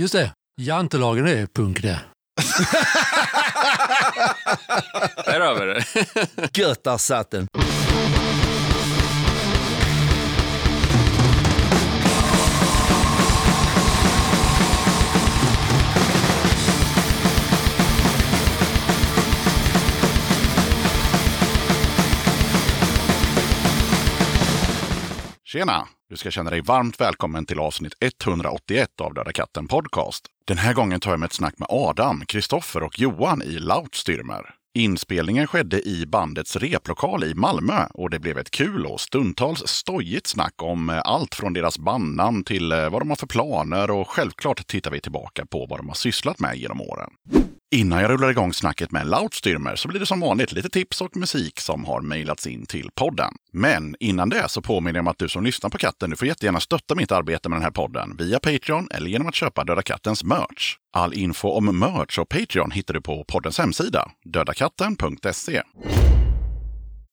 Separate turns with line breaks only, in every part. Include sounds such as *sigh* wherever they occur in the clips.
Just det, jantelagen är punk det.
Där har vi det.
Gött, där satt den.
Tjena! Du ska känna dig varmt välkommen till avsnitt 181 av Döda katten Podcast. Den här gången tar jag med ett snack med Adam, Kristoffer och Johan i Lautstyrmer. Inspelningen skedde i bandets replokal i Malmö och det blev ett kul och stundtals stojigt snack om eh, allt från deras bandnamn till eh, vad de har för planer och självklart tittar vi tillbaka på vad de har sysslat med genom åren. Innan jag rullar igång snacket med Lautstyrmer så blir det som vanligt lite tips och musik som har mejlats in till podden. Men innan det så påminner jag om att du som lyssnar på katten, du får jättegärna stötta mitt arbete med den här podden via Patreon eller genom att köpa Döda Kattens merch. All info om merch och Patreon hittar du på poddens hemsida, dödakatten.se.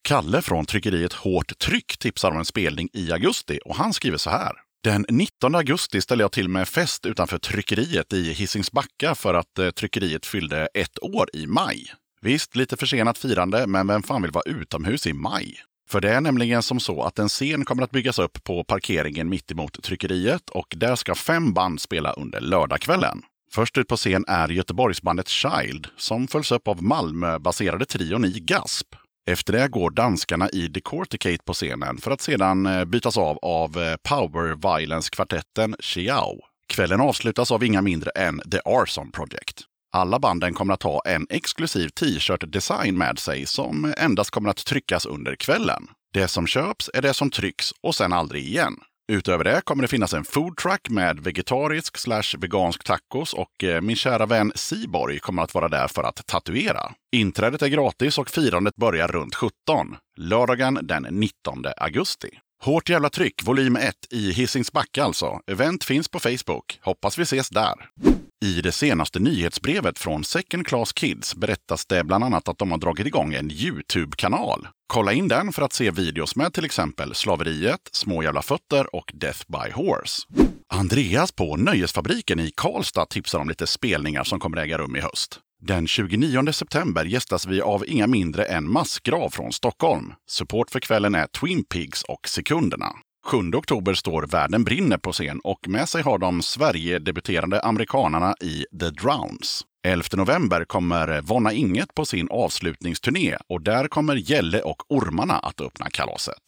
Kalle från tryckeriet Hårt Tryck tipsar om en spelning i augusti och han skriver så här. Den 19 augusti ställde jag till med fest utanför tryckeriet i Hisings Backa för att eh, tryckeriet fyllde ett år i maj. Visst, lite försenat firande, men vem fan vill vara utomhus i maj? För det är nämligen som så att en scen kommer att byggas upp på parkeringen mittemot tryckeriet och där ska fem band spela under lördagskvällen. Först ut på scen är Göteborgsbandet Child som följs upp av Malmö-baserade trion i Gasp. Efter det går danskarna i Decorticate på scenen för att sedan eh, bytas av av eh, Power Violence-kvartetten Chiao. Kvällen avslutas av inga mindre än The Arson Project. Alla banden kommer att ha en exklusiv t-shirt-design med sig som endast kommer att tryckas under kvällen. Det som köps är det som trycks och sen aldrig igen. Utöver det kommer det finnas en foodtruck med vegetarisk slash vegansk tacos och eh, min kära vän Siborg kommer att vara där för att tatuera. Inträdet är gratis och firandet börjar runt 17, lördagen den 19 augusti. Hårt jävla tryck, volym 1 i Hisings Backe alltså. Event finns på Facebook. Hoppas vi ses där. I det senaste nyhetsbrevet från Second Class Kids berättas det bland annat att de har dragit igång en YouTube-kanal. Kolla in den för att se videos med till exempel Slaveriet, Små jävla fötter och Death by Horse. Andreas på Nöjesfabriken i Karlstad tipsar om lite spelningar som kommer äga rum i höst. Den 29 september gästas vi av inga mindre än Massgrav från Stockholm. Support för kvällen är Twin Pigs och Sekunderna. 7 oktober står Världen brinner på scen och med sig har de Sverige-debuterande amerikanarna i The Drowns. 11 november kommer Vonna Inget på sin avslutningsturné och där kommer Gälle och Ormarna att öppna kalaset.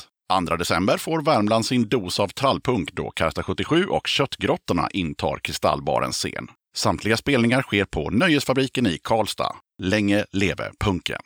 2 december får Värmland sin dos av trallpunk då Karta 77 och Köttgrottorna intar Kristallbarens scen. Samtliga spelningar sker på Nöjesfabriken i Karlstad. Länge leve punken!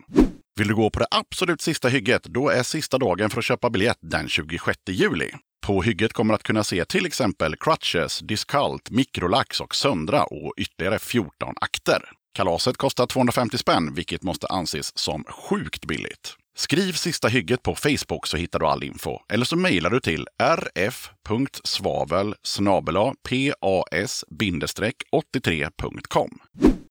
Vill du gå på det absolut sista hygget, då är sista dagen för att köpa biljett den 26 juli. På hygget kommer du att kunna se till exempel Crutches, Discult, Mikrolax och Söndra och ytterligare 14 akter. Kalaset kostar 250 spänn, vilket måste anses som sjukt billigt. Skriv sista hygget på Facebook så hittar du all info. Eller så mejlar du till rf.svavel pas-83.com.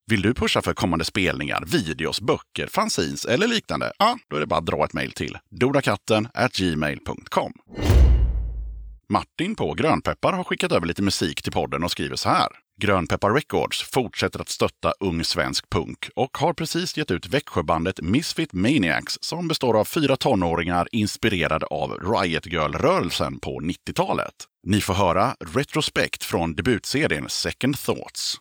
Vill du pusha för kommande spelningar, videos, böcker, fanzines eller liknande? Ja, då är det bara att dra ett mejl till dodakatten gmail.com. Martin på Grönpeppar har skickat över lite musik till podden och skriver så här. Grönpeppar Records fortsätter att stötta ung svensk punk och har precis gett ut Växjöbandet Misfit Maniacs som består av fyra tonåringar inspirerade av Riot Girl-rörelsen på 90-talet. Ni får höra Retrospect från debutserien Second Thoughts.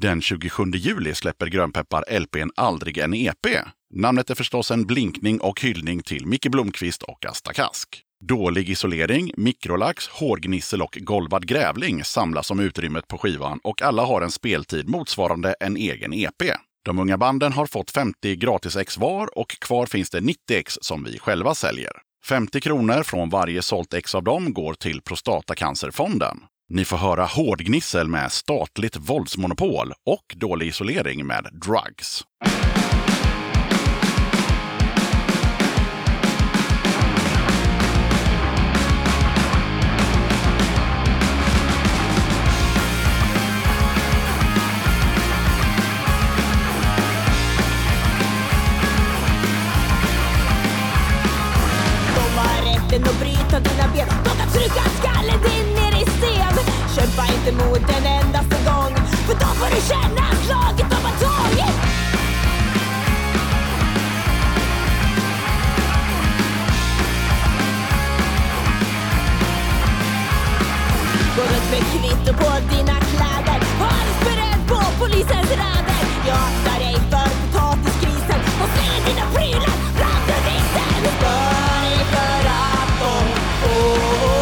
Den 27 juli släpper Grönpeppar LPn Aldrig en EP. Namnet är förstås en blinkning och hyllning till Micke Blomqvist och Asta Kask. Dålig isolering, mikrolax, hårgnissel och golvad grävling samlas som utrymmet på skivan och alla har en speltid motsvarande en egen EP. De unga banden har fått 50 gratis ex var och kvar finns det 90 ex som vi själva säljer. 50 kronor från varje sålt ex av dem går till Prostatacancerfonden. Ni får höra Hårdgnissel med Statligt våldsmonopol och Dålig isolering med Drugs.
De har rätten att bryta dina ben De kan trycka skallen din ner i sten Kämpa inte mot en endaste gång För då får du känna slaget av en tåg Gå runt med kvitto på dina kläder Har du beredd på polisens räder Jag aktar dig för potatisgrisen Och slänger dina prylar framför vinden Börj för att de får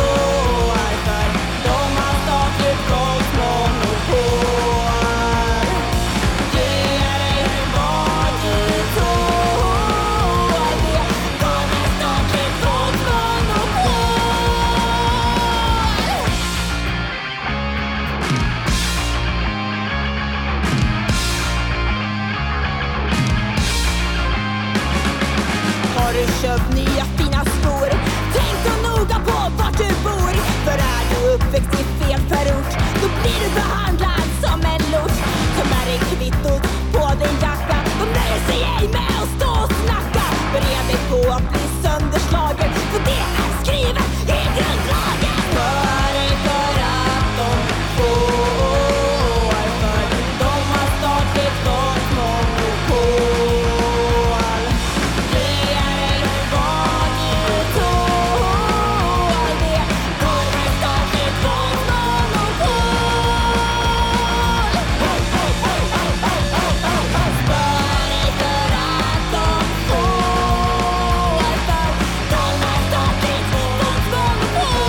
För de har statligt våldsmonopol Ge dig vad du tål De har statligt våldsmonopol Har du köpt nya fina skor? Tänk då noga på vart du bor För är du uppväxt i fel förort Då blir du behandlad som en lort Ta med dig kvittot på din jacka De nöjer sig ej med att stå och snacka Bered dig på att bli sönderslagen För det är skrivet i grundlagen För dig för att de får För de har statligt vårt monopol det är vad du tål Det kommer statligt våldsmonopol Hej, hej, hej, hej, hej, hej, hej, hej Spör dig för att de får För de har statligt våldsmonopol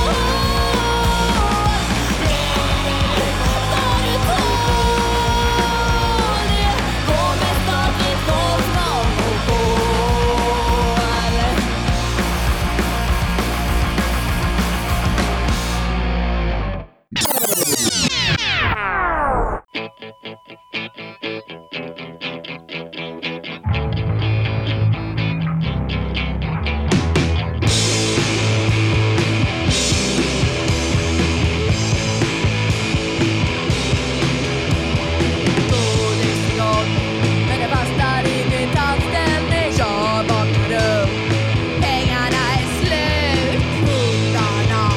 Det är vad du tål Det kommer statligt våldsmonopol
Men jag fastnar i mitt anställning Jag vaknar upp Pengarna är slut Hundarna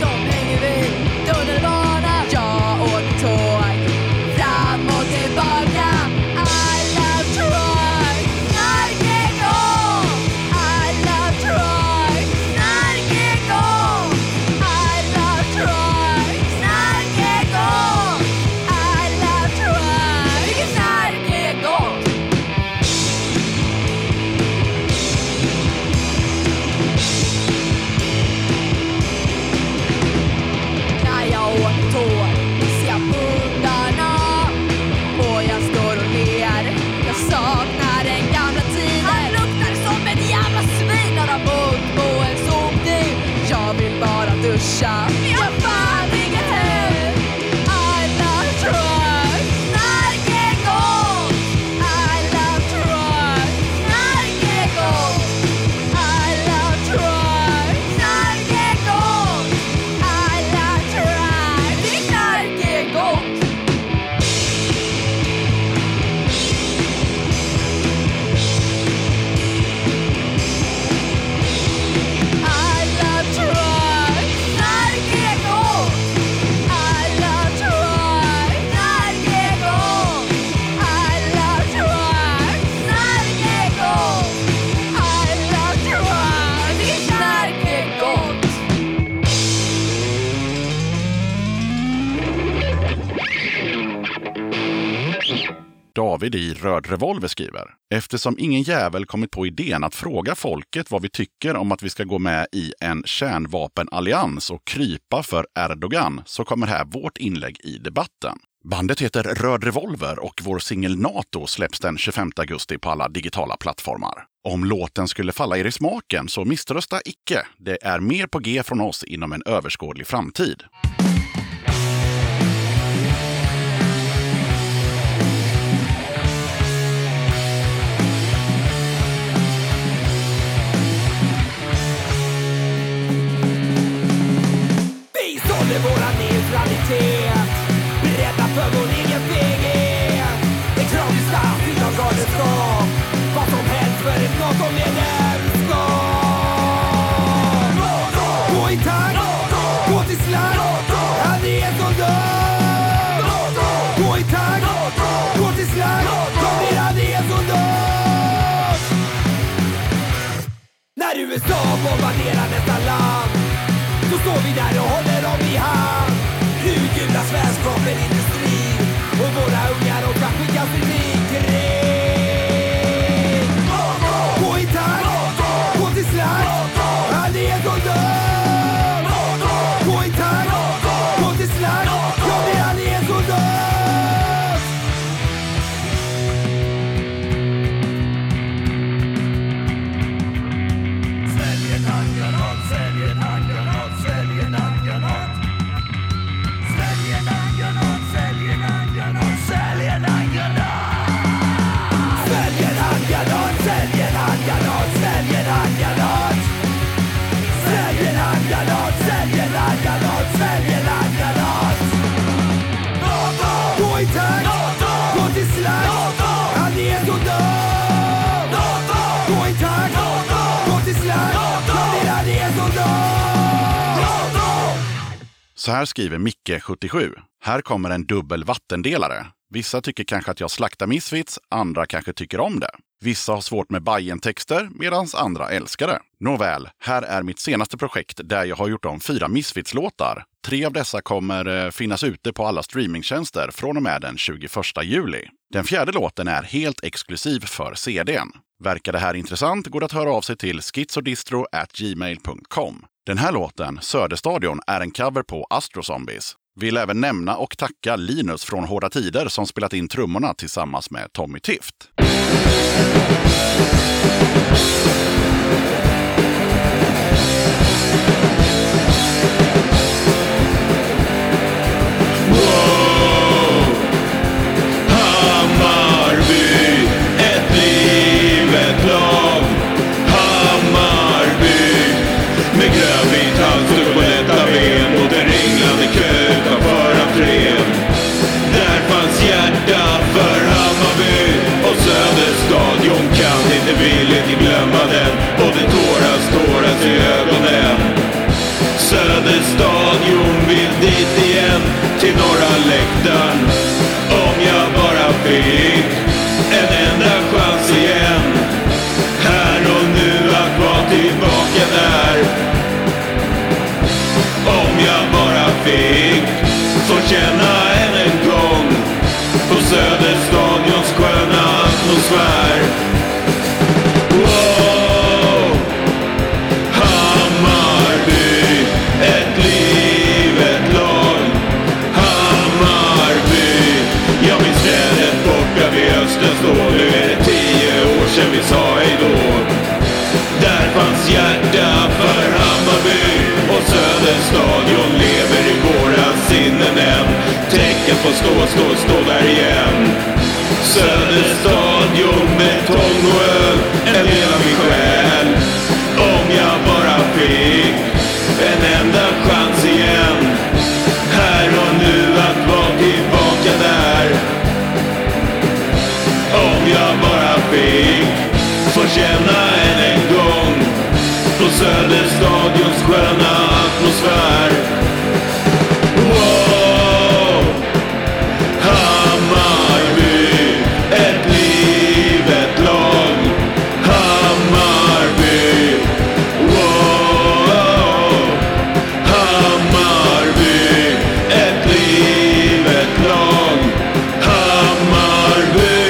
De hänger vid tunnelbanan Jag åker tåg Fram och tillbaka I love Troy Knark är igång I love Troy Knark är igång I love Troy Knark är igång I love Troy Knark är igång När jag åker tåg ser jag pundarna och jag står och ler. Jag saknar den gamla tiden. Han luktar som ett jävla svin. Har han mugg på en soptipp? Jag vill bara duscha. Men jag har fan inget hem. I love Troy. Knark är igång. I love Troy. Knark är igång. I love Troy. Knark är igång. I love Troy. Knark är igång. I love Troy. Knark
David i Röd Revolver skriver. Eftersom ingen jävel kommit på idén att fråga folket vad vi tycker om att vi ska gå med i en kärnvapenallians och krypa för Erdogan så kommer här vårt inlägg i debatten. Bandet heter Röd Revolver och vår singel NATO släpps den 25 augusti på alla digitala plattformar. Om låten skulle falla er i smaken så misströsta icke. Det är mer på G från oss inom en överskådlig framtid.
Vi sålde våran neutralitet Beredda för vår egen frihet Det tragiska fyllt av galenskap Vad som helst för ett Natomedlemskap Gå i takt, gå till slakt Han är en som dör Gå i takt, gå till slakt Kom ner, han är en som dör När USA bombarderar nästa land Då står vi där och håller dem i hand Urgula svensk vapenindustri Och våra ungar de kan skickas i krig Gå i takt, gå till slakt Han är en som dör Gå i takt, gå till slakt Ja, det är han är en som dör Svälj en handgranat, svälj en handgranat, svälj en handgranat. Svälj en handgranat, svälj en handgranat, svälj en handgranat. Svälj en handgranat, svälj en handgranat, svälj en handgranat. Svälj en handgranat, svälj en handgranat, svälj en handgranat. Gå i takt, gå till slakt, han är så död. Gå i takt, gå till slakt, han är så död.
Så här skriver Micke, 77. Här kommer en dubbel vattendelare. Vissa tycker kanske att jag slaktar Misfits, andra kanske tycker om det. Vissa har svårt med Bajen-texter, medan andra älskar det. Nåväl, här är mitt senaste projekt där jag har gjort om fyra Misfits-låtar. Tre av dessa kommer eh, finnas ute på alla streamingtjänster från och med den 21 juli. Den fjärde låten är helt exklusiv för CDn. Verkar det här intressant går det att höra av sig till schizodistro.gmail.com. Den här låten, Söderstadion, är en cover på Astro Zombies. Vill även nämna och tacka Linus från Hårda Tider som spelat in trummorna tillsammans med Tommy Tift.
Hammarby, ett livet lag. Hammarby, med grönvit halsduk och lätta ben mot en ringlande kö utanför entrén. Där fanns hjärta för Hammarby och Söderstadion kan inte villigt glömma den och det tåras, tåras i ögonen. Söderstadion vill dit igen till norra läktaren Om jag bara fick en enda chans igen Här och nu att vara tillbaka där Om jag bara fick få känna än en gång På Söderstadions sköna atmosfär Wow! Hammarby, ett livet lag. Hammarby, jag minns vädret borta vid Östens då. Nu är det tio år sedan vi sa hej då. Där fanns hjärta för Hammarby och Söderstadion lever i våra sinnen än. Tänk att få stå, stå, stå där igen. Söderstadion med tång och öl, en del av min själ. Om jag bara fick en enda chans igen. Här och nu att vara tillbaka där. Om jag bara fick få känna än en gång på Söderstadions sköna atmosfär. Wow! Hammarby, ett livet lag. Hammarby, wow. er Hammarby, ett livet lag. Hammarby.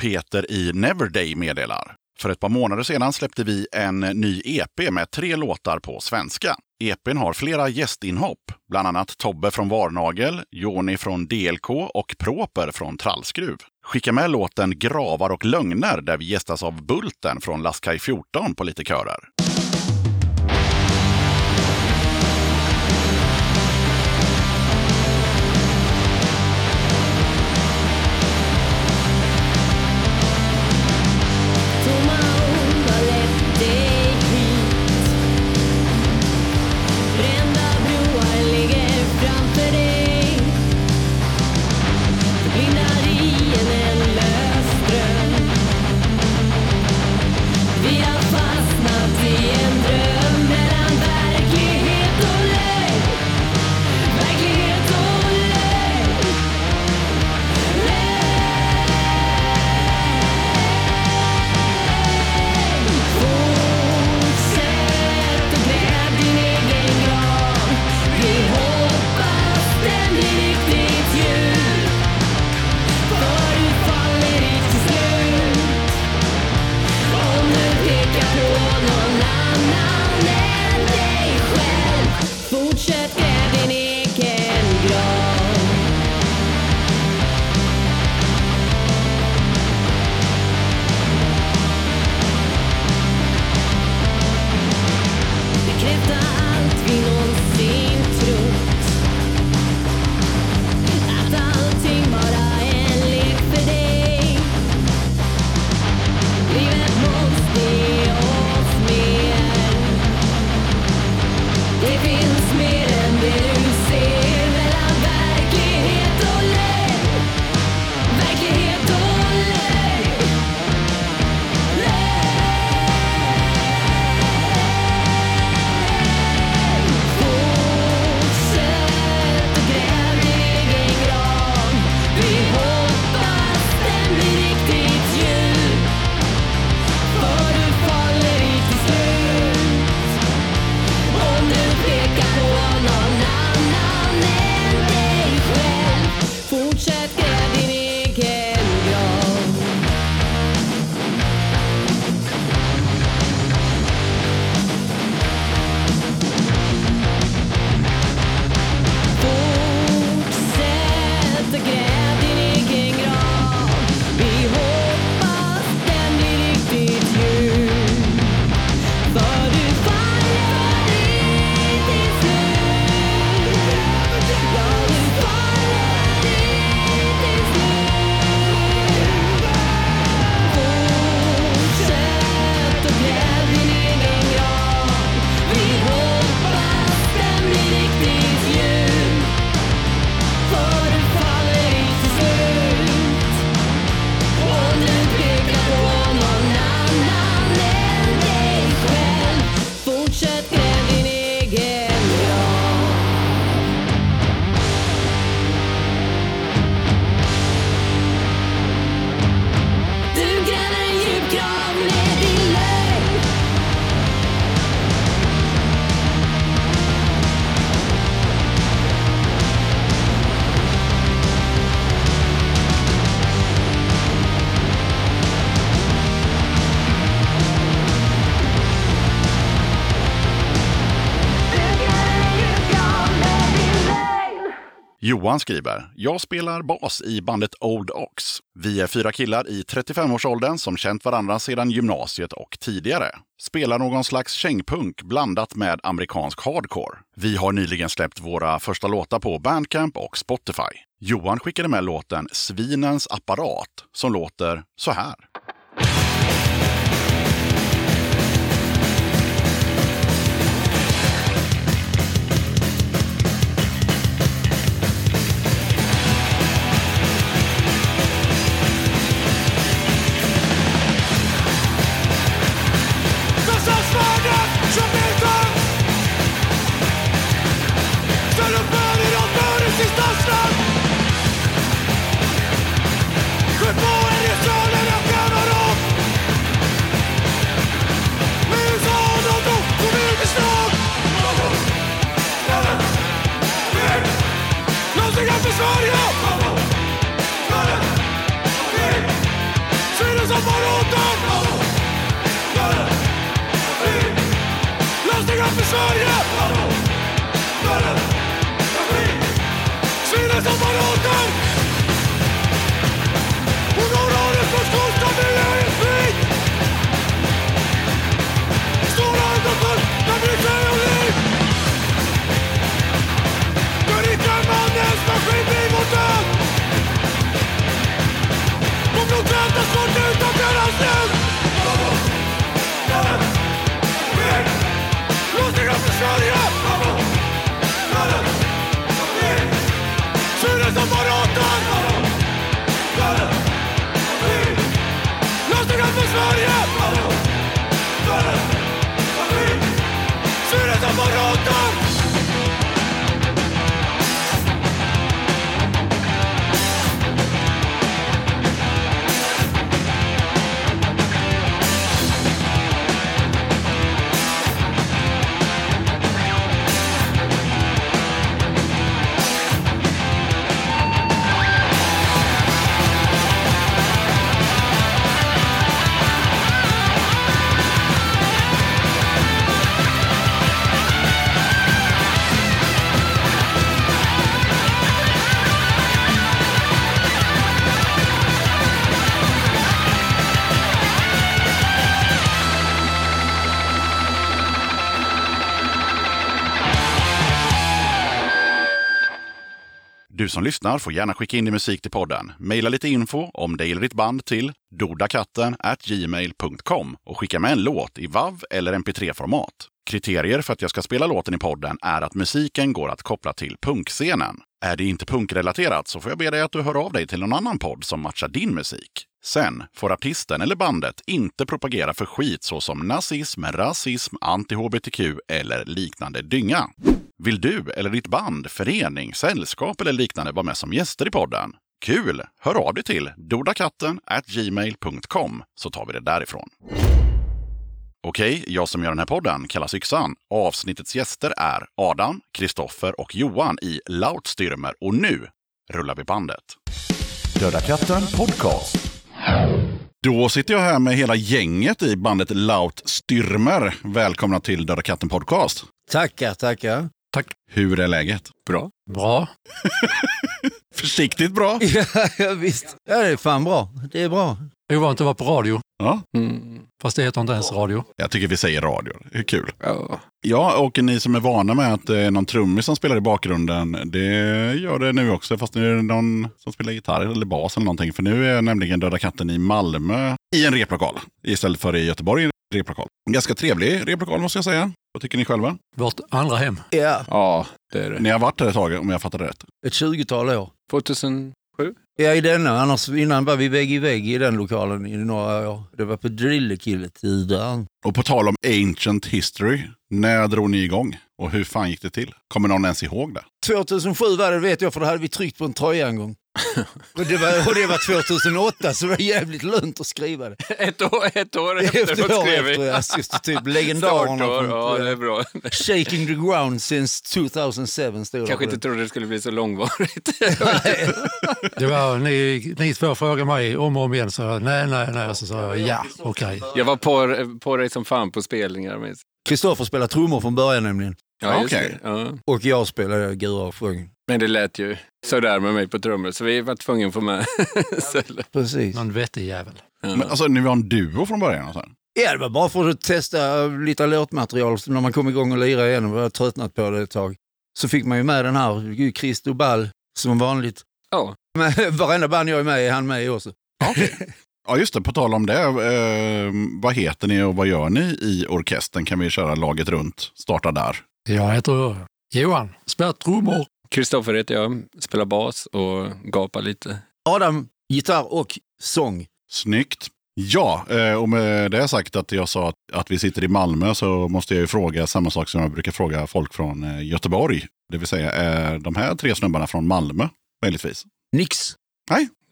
Peter i Neverday meddelar. För ett par månader sedan släppte vi en ny EP med tre låtar på svenska. EPn har flera gästinhopp, bland annat Tobbe från Varnagel, Joni från DLK och Proper från Trallskruv. Skicka med låten Gravar och lögner där vi gästas av Bulten från Lastkaj 14 på lite körer.
Tomma ord har lett dig hit. Brända broar ligger framför dig. Du blindar i en ändlös dröm. Vi har fastnat i en dröm mellan verklighet och lögn. Verklighet och lögn. Lögn. Fortsätt att gräva din egen grav. Vi hoppas den blir riktigt djup. För du faller i till slut. Om du pekar på någon annan än dig själv. Fortsätt gräva din egen grav. Bekräfta allt vi någonsin trott Att allting bara är en lek för dig Livet måste ge oss mer Det finns mer än det du ser Mellan verklighet och lögn Verklighet och lögn Fortsätt och gräv din egen grav. Vi hoppas den blir riktigt djup. För du faller i till slut. Om du pekar på någon annan än dig själv. Fortsätt gräv din egen grav. Fortsätt och gräv din egen grav. Vi hoppas den blir riktigt djup. För du faller aldrig till slut. Ja, du faller aldrig till slut. Fortsätt och gräv din egen grav. Vi hoppas den blir riktigt djup. För du faller i till slut Och du pekar på någon annan än dig själv Fortsätt gräv din egen grav Du gräver en djup grav med din lögn
Johan skriver, jag spelar bas i bandet Old Ox. Vi är fyra killar i 35-årsåldern som känt varandra sedan gymnasiet och tidigare. Spelar någon slags kängpunk blandat med amerikansk hardcore. Vi har nyligen släppt våra första låtar på Bandcamp och Spotify. Johan skickade med låten Svinens apparat som låter så här.
Skjut på er i solen och kameran
Du som lyssnar får gärna skicka in din musik till podden. Maila lite info om dig eller ditt band till dodakatten gmail.com och skicka med en låt i WAV eller MP3-format. Kriterier för att jag ska spela låten i podden är att musiken går att koppla till punkscenen. Är det inte punkrelaterat så får jag be dig att du hör av dig till någon annan podd som matchar din musik. Sen får artisten eller bandet inte propagera för skit såsom nazism, rasism, anti-hbtq eller liknande dynga. Vill du eller ditt band, förening, sällskap eller liknande vara med som gäster i podden? Kul! Hör av dig till dodakatten gmail.com så tar vi det därifrån. Okej, jag som gör den här podden kallas Yxan. Avsnittets gäster är Adam, Kristoffer och Johan i Lautstürmer och nu rullar vi bandet. Döda katten podcast. Då sitter jag här med hela gänget i bandet Lautstürmer. Välkomna till Döda katten podcast.
Tackar, tackar.
Tack.
Hur är läget?
Bra.
Bra.
Försiktigt bra.
*laughs* Ja, visst. Ja, det är fan bra. Det är bra.
Det är Ovant att vara på radio. Mm.
Ja,
Fast det heter inte ens radio.
jag tycker vi säger radio. Det är kul.
Ja.
Ja, och ni som är vana med att det är någon trummis som spelar i bakgrunden, det gör det nu också. Fast nu är det någon som spelar gitarr eller bas eller någonting. För nu är nämligen Döda katten i Malmö i en replokal istället för i Göteborg i en replokal. En ganska trevlig replokal måste jag säga. Vad tycker ni själva?
Vårt andra hem.
Ja,
ja, det är det.
Ni har varit där ett tag om jag fattar det rätt.
ett 20-tal år.
2000...
Ja, i denna. Annars innan var vi vägg i vägg i den lokalen i några år. Det var på Drillekille-tiden.
Och på tal om ancient history, när drog ni igång? Och hur fan gick det till? Kommer någon ens ihåg det?
2007 var det, vet jag, för det hade vi tryckt på en tröja en
*laughs*
gång. Och det var, och det var 2008, så det var jävligt lönt att skriva
*laughs*
det.
Ett år, ett år
Efter
efteråt
år
skrev vi.
efter, alltså, just typ legendarerna.
Startår, ja
från- eh,
det är bra.
Shaking the ground since 2007 stod det på
Kanske
den.
inte trodde det skulle bli så långvarigt. *laughs*
Det var, ni, ni två frågade mig om och om igen. Så jag, nej, nej, nej. Så sa jag ja, okej.
Jag var på, på dig som fan på spelningar. Men...
Kristoffer spelade trummor från början nämligen.
Ja, just
Okej.
det. Ja.
Och jag spelade gura och sjöng.
Men det lät ju sådär med mig på trummor, så vi var tvungna att få med *laughs* Selle.
Precis.
Någon vettig jävel.
Men alltså, ni var en duo från början? alltså. Och så här.
Ja, det var bara för att testa lite låtmaterial. Så När man kom igång och lirade igen och var tröttnat på det ett tag. Så fick man ju med den här, Christo Ball, som vanligt.
Ja.
Men *laughs* varenda band jag är med i är han med i också.
Ja, just det. På tal om det. Eh, vad heter ni och vad gör ni i orkestern? Kan vi köra laget runt? Starta där.
Jag heter Johan. Spelar trummor.
Kristoffer heter jag, spelar bas och gapar lite.
Adam, gitarr och sång.
Snyggt. Ja, eh, och med det sagt att jag sa att, att vi sitter i Malmö så måste jag ju fråga samma sak som jag brukar fråga folk från eh, Göteborg. Det vill säga, är de här tre snubbarna från Malmö möjligtvis?
Nix.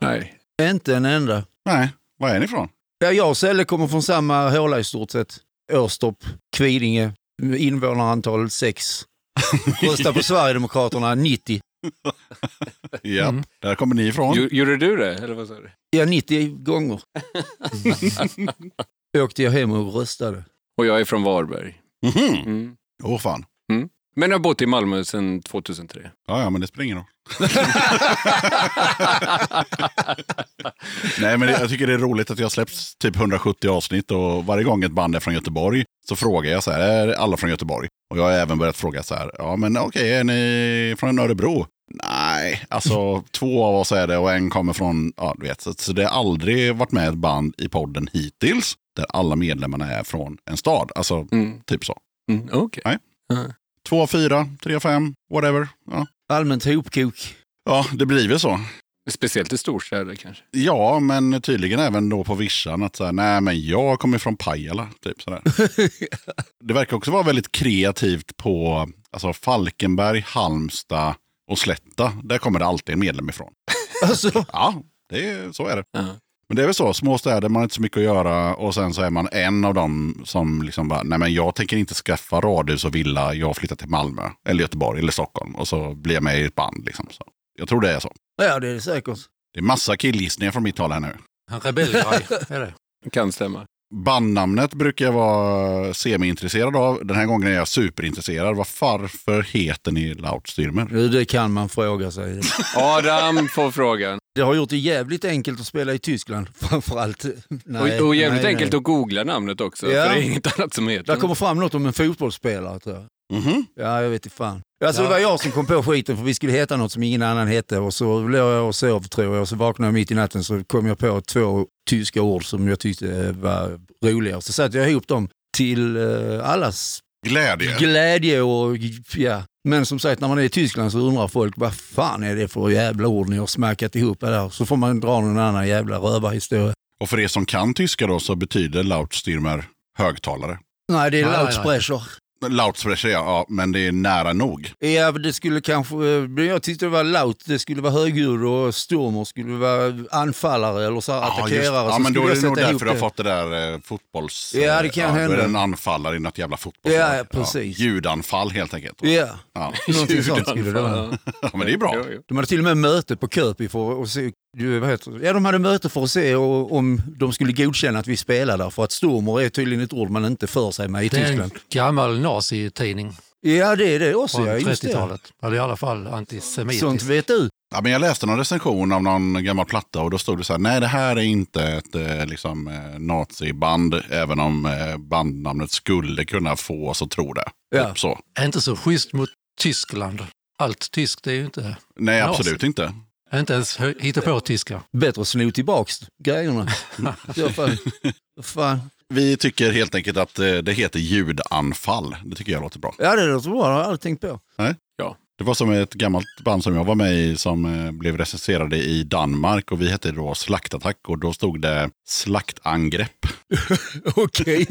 Nej.
Inte en enda.
Nej, var är ni från?
Ja, jag och Selle kommer från samma håla i stort sett. Årstorp, Kvidinge, invånarantal 6. Rösta på Sverigedemokraterna 90.
Ja,
Mm.
där kommer ni ifrån.
Gjo- Gjorde du det, eller vad sa du?
Ja, 90
*laughs*
gånger. Åkte jag hem och röstade.
Och jag är från Varberg.
Mhm.
Mm.
Åh fan.
Men jag har bott i Malmö sedan 2003.
Ja, ja, men det spelar
*laughs*
ingen roll. Nej, men det- jag tycker det är roligt att jag har släppt typ 170 avsnitt och varje gång ett band är från Göteborg så frågar jag så här, är alla från Göteborg? Och jag har även börjat fråga så här, ja men okej, är ni från Örebro? Nej,
*laughs*
alltså två av oss är det och en kommer från, ja du vet, så, så det har aldrig varit med ett band i podden hittills där alla medlemmarna är från en stad, alltså
Mm.
typ så.
Mm. Okej.
Nej. Två, fyra, tre, fem, whatever. Ja,
Allmänt hopkok.
ja det blir väl så.
Speciellt i storstäder kanske.
Ja, men tydligen även då på vischan att så här, nej men jag kommer från Pajala. Typ sådär. det verkar också vara väldigt kreativt på alltså, Falkenberg, Halmstad och Slätta. Där kommer det alltid en medlem ifrån.
Alltså,
Ja, det är, så är det.
Ja.
Men det är väl så, små städer, man har inte så mycket att göra och sen så är man en av dem som liksom bara, nej men jag tänker inte skaffa radhus och villa, jag flyttar till Malmö eller Göteborg eller Stockholm och så blir jag med i ett band liksom. Så jag tror det är så.
ja det är det säkert.
Det är massa killgissningar från mitt håll här nu.
En rebellgrej
*laughs*
är det.
Kan stämma.
Bandnamnet brukar jag vara semi-intresserad av. Den här gången är jag superintresserad. Vad- Varför heter ni Lautstyrmer?
Nu, Det kan man fråga sig.
Adam får frågan.
Det har gjort det jävligt enkelt att spela i Tyskland *laughs* framförallt. Nej,
och, och jävligt
nej, nej.
enkelt att googla namnet också.
Ja.
För det är inget annat som heter
Där kommer fram något om en fotbollsspelare tror jag.
Mhm.
Ja, jag vet inte fan. Alltså,
Ja.
Det var jag som kom på skiten för vi skulle heta något som ingen annan hette och så låg jag och sov tror jag och så vaknade jag mitt i natten så kom jag på två tyska ord som jag tyckte eh, var roliga och så satte jag ihop dem till eh, allas
Glädje.
glädje och ja. Men som sagt, när man är i Tyskland så undrar folk vad fan är det för jävla ord ni har smackat ihop det där? Så får man dra någon annan jävla rövarhistoria.
och för er som kan tyska då så betyder Lautstyrmer högtalare.
Nej, det är
Nej, nej, nej.
Lautsprecher.
Lautsprecher ja, ja, men det är nära nog.
Ja, men det skulle kanske, men jag tyckte det var laut, det skulle vara högljudd och Stormer skulle vara anfallare eller så här
just-
attackerare.
ja
så
men
skulle
då är
jag
det nog
sätta ihop
därför du har fått det där eh, fotbolls...
Ja, det kan
eh, Då
hända.
är det en anfallare i något jävla fotboll.
Ja, ja, precis.
ljudanfall helt enkelt. *laughs*
Ja,
Ja.
*laughs* någonting sånt skulle det vara.
Ja.
*laughs* ja, men det är bra.
Jo, jo.
De hade till och med möte på Köpi för att se, du, vad heter det? ja de hade möte för att se och, om de skulle godkänna att vi spelade där, för att Stormer är tydligen ett ord man inte för sig med i
Det är en
Tyskland.
gammal nazitidning
Ja, det är det också,
från
ja just det.
30-talet. Eller i alla fall antisemitisk.
Sånt vet du.
Ja, men jag läste någon recension av någon gammal platta och då stod det så här, nej det här är inte ett eh, liksom, eh, naziband, även om eh, bandnamnet skulle kunna få oss att tro det.
Ja.
Typ så.
Är Inte så schysst mot Tyskland. Allt tyskt är ju inte,
Nej,
Nazi.
absolut inte.
inte ens hö- hittepå-tyska.
Bättre att sno tillbaks
*laughs*
grejerna. I alla fall. Fan.
Vi tycker helt enkelt att eh, det heter ljudanfall. Det tycker jag låter bra.
Ja, det låter bra, det har jag aldrig tänkt på.
Det var som ett gammalt band som jag var med i som eh, blev recenserade i Danmark och vi hette då Slaktattack och då stod det slaktangrepp.
Okej.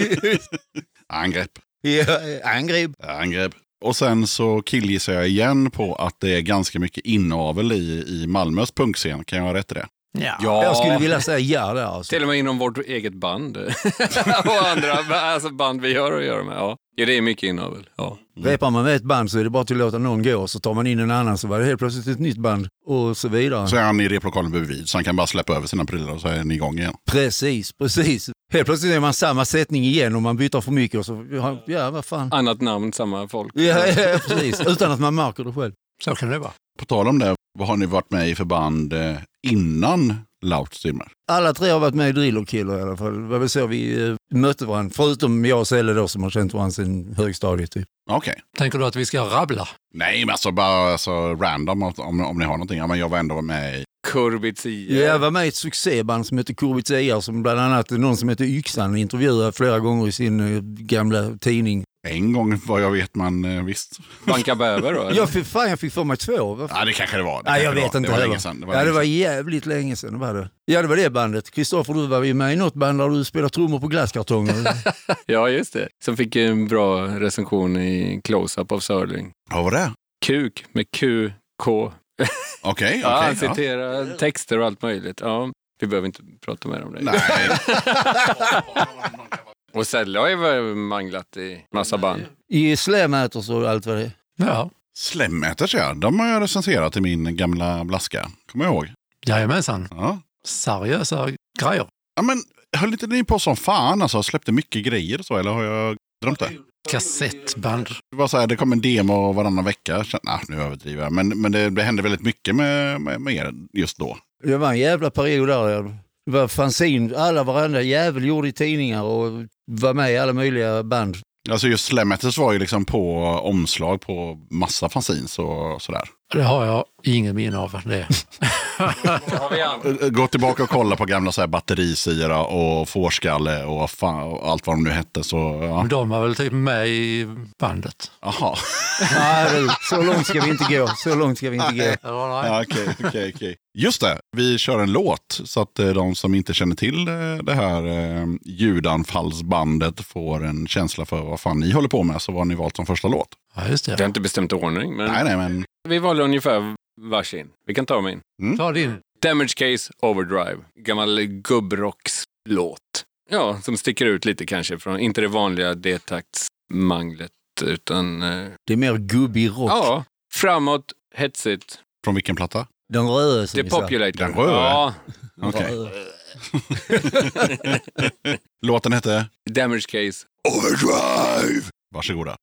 Angrepp.
*laughs* Ja, eh, angrepp.
Angrepp. Och sen så killgissar jag igen på att det är ganska mycket inavel i, i Malmös punkscen. Kan jag ha rätt i det?
Ja.
Jag skulle vilja säga ja där alltså.
Till och med inom vårt eget band. *laughs* och andra alltså band vi gör och gör med. Ja. ja, det är mycket inavel. Ja.
Repar man med ett band så är det bara till att låta någon gå och så tar man in en annan så var det helt plötsligt ett nytt band och så vidare.
Så är han i replokalen bredvid så han kan bara släppa över sina prylar och så är han igång igen.
Precis, precis. Helt plötsligt är man samma sättning igen och man byter för mycket och så, ja vad fan.
Annat namn, samma folk.
Ja, ja precis. Utan att man märker det själv.
Så kan det vara.
På tal om det, vad har ni varit med i för band eh, innan Lautstyrmer?
Alla tre har varit med i Drillerkiller i alla fall. Det var väl så vi eh, mötte varandra. Förutom jag och Selle då som har känt varandra sedan högstadiet typ.
Okej.
Tänker du att vi ska rabbla?
Nej, men alltså bara alltså, random om, om, om ni har någonting. Ja, men jag var ändå med i...
Kurbitsia.
Ja, Jag var med i ett succéband som hette Kurbitsiar som bland annat någon som hette Yxan intervjuade flera gånger i sin eh, gamla tidning.
En gång vad jag vet man eh, visst.
Banka
*laughs*
bäver då? eller?
Jag fick, fan, jag fick för mig två. Vad fan?
Ja, det kanske det var. Det
Nej, jag
kanske det
vet
var.
inte
Det var
heller.
länge sedan. Det var
ja, det
länge
var
sedan.
jävligt länge sedan. det Var det. Ja, det var det bandet. Kristoffer, du var ju med i något band där du spelade trummor på glasskartonger.
*laughs*
ja, just det. Som fick en bra recension i Close-Up av Sörling.
Ja, var det?
Kuk med Q, K.
Okej, okej.
Ja, han
ja.
citerar texter och allt möjligt. Ja, vi behöver inte prata mer om det.
Nej.
Och Selle har ju varit manglat i massa band.
I Slamäters och allt vad det är.
Ja,
Slämäters ja, de har jag recenserat i min gamla blaska. Kommer jag ihåg?
jajamensan.
Ja.
seriösa grejer.
Ja, men höll inte ni på som fan alltså? Släppte mycket grejer och så, eller har jag drömt det?
Kassettband.
Det var så här, det kom en demo varannan vecka. Så, nah, nu överdriver jag, men, men det, det hände väldigt mycket med, med, med er just då.
Det var en jävla period där. Det var fanzin, alla varandra jävel gjorde i tidningar och var med i alla möjliga band.
Alltså just Slam Matters var ju liksom på omslag på massa fanzines och sådär.
Det har jag ingen minne av. Det.
Har vi andra?
Gå tillbaka och kolla på gamla så här batterisyra och fårskalle och, fan, och allt vad de nu hette. Så, ja.
De var väl typ med i bandet.
Aha.
Nej, du, så långt ska vi inte gå. Så långt ska vi inte gå.
Eller, nej.
Ja, okej, *laughs* okej, okej. Just det, vi kör en låt så att eh, de som inte känner till eh, det här eh, ljudanfallsbandet får en känsla för vad fan ni håller på med, så vad ni valt som första låt.
Ja, just
Det har
det.
inte bestämt ordning, men
Nej, nej, men
vi valde ungefär varsin. Vi kan ta min.
Ta din.
Damage Case Overdrive. Gammal gubbrockslåt. Ja, som sticker ut lite kanske från, inte det vanliga D-taktsmanglet, utan... eh,
Det är mer gubbig rock.
Ja, framåt, hetsigt.
från vilken platta?
Den röde som
Det
vi sa.
populator.
Den röda.
Ja,
Okej.
Röde.
Låten hette
Damage Case.
Overdrive. Varsågoda.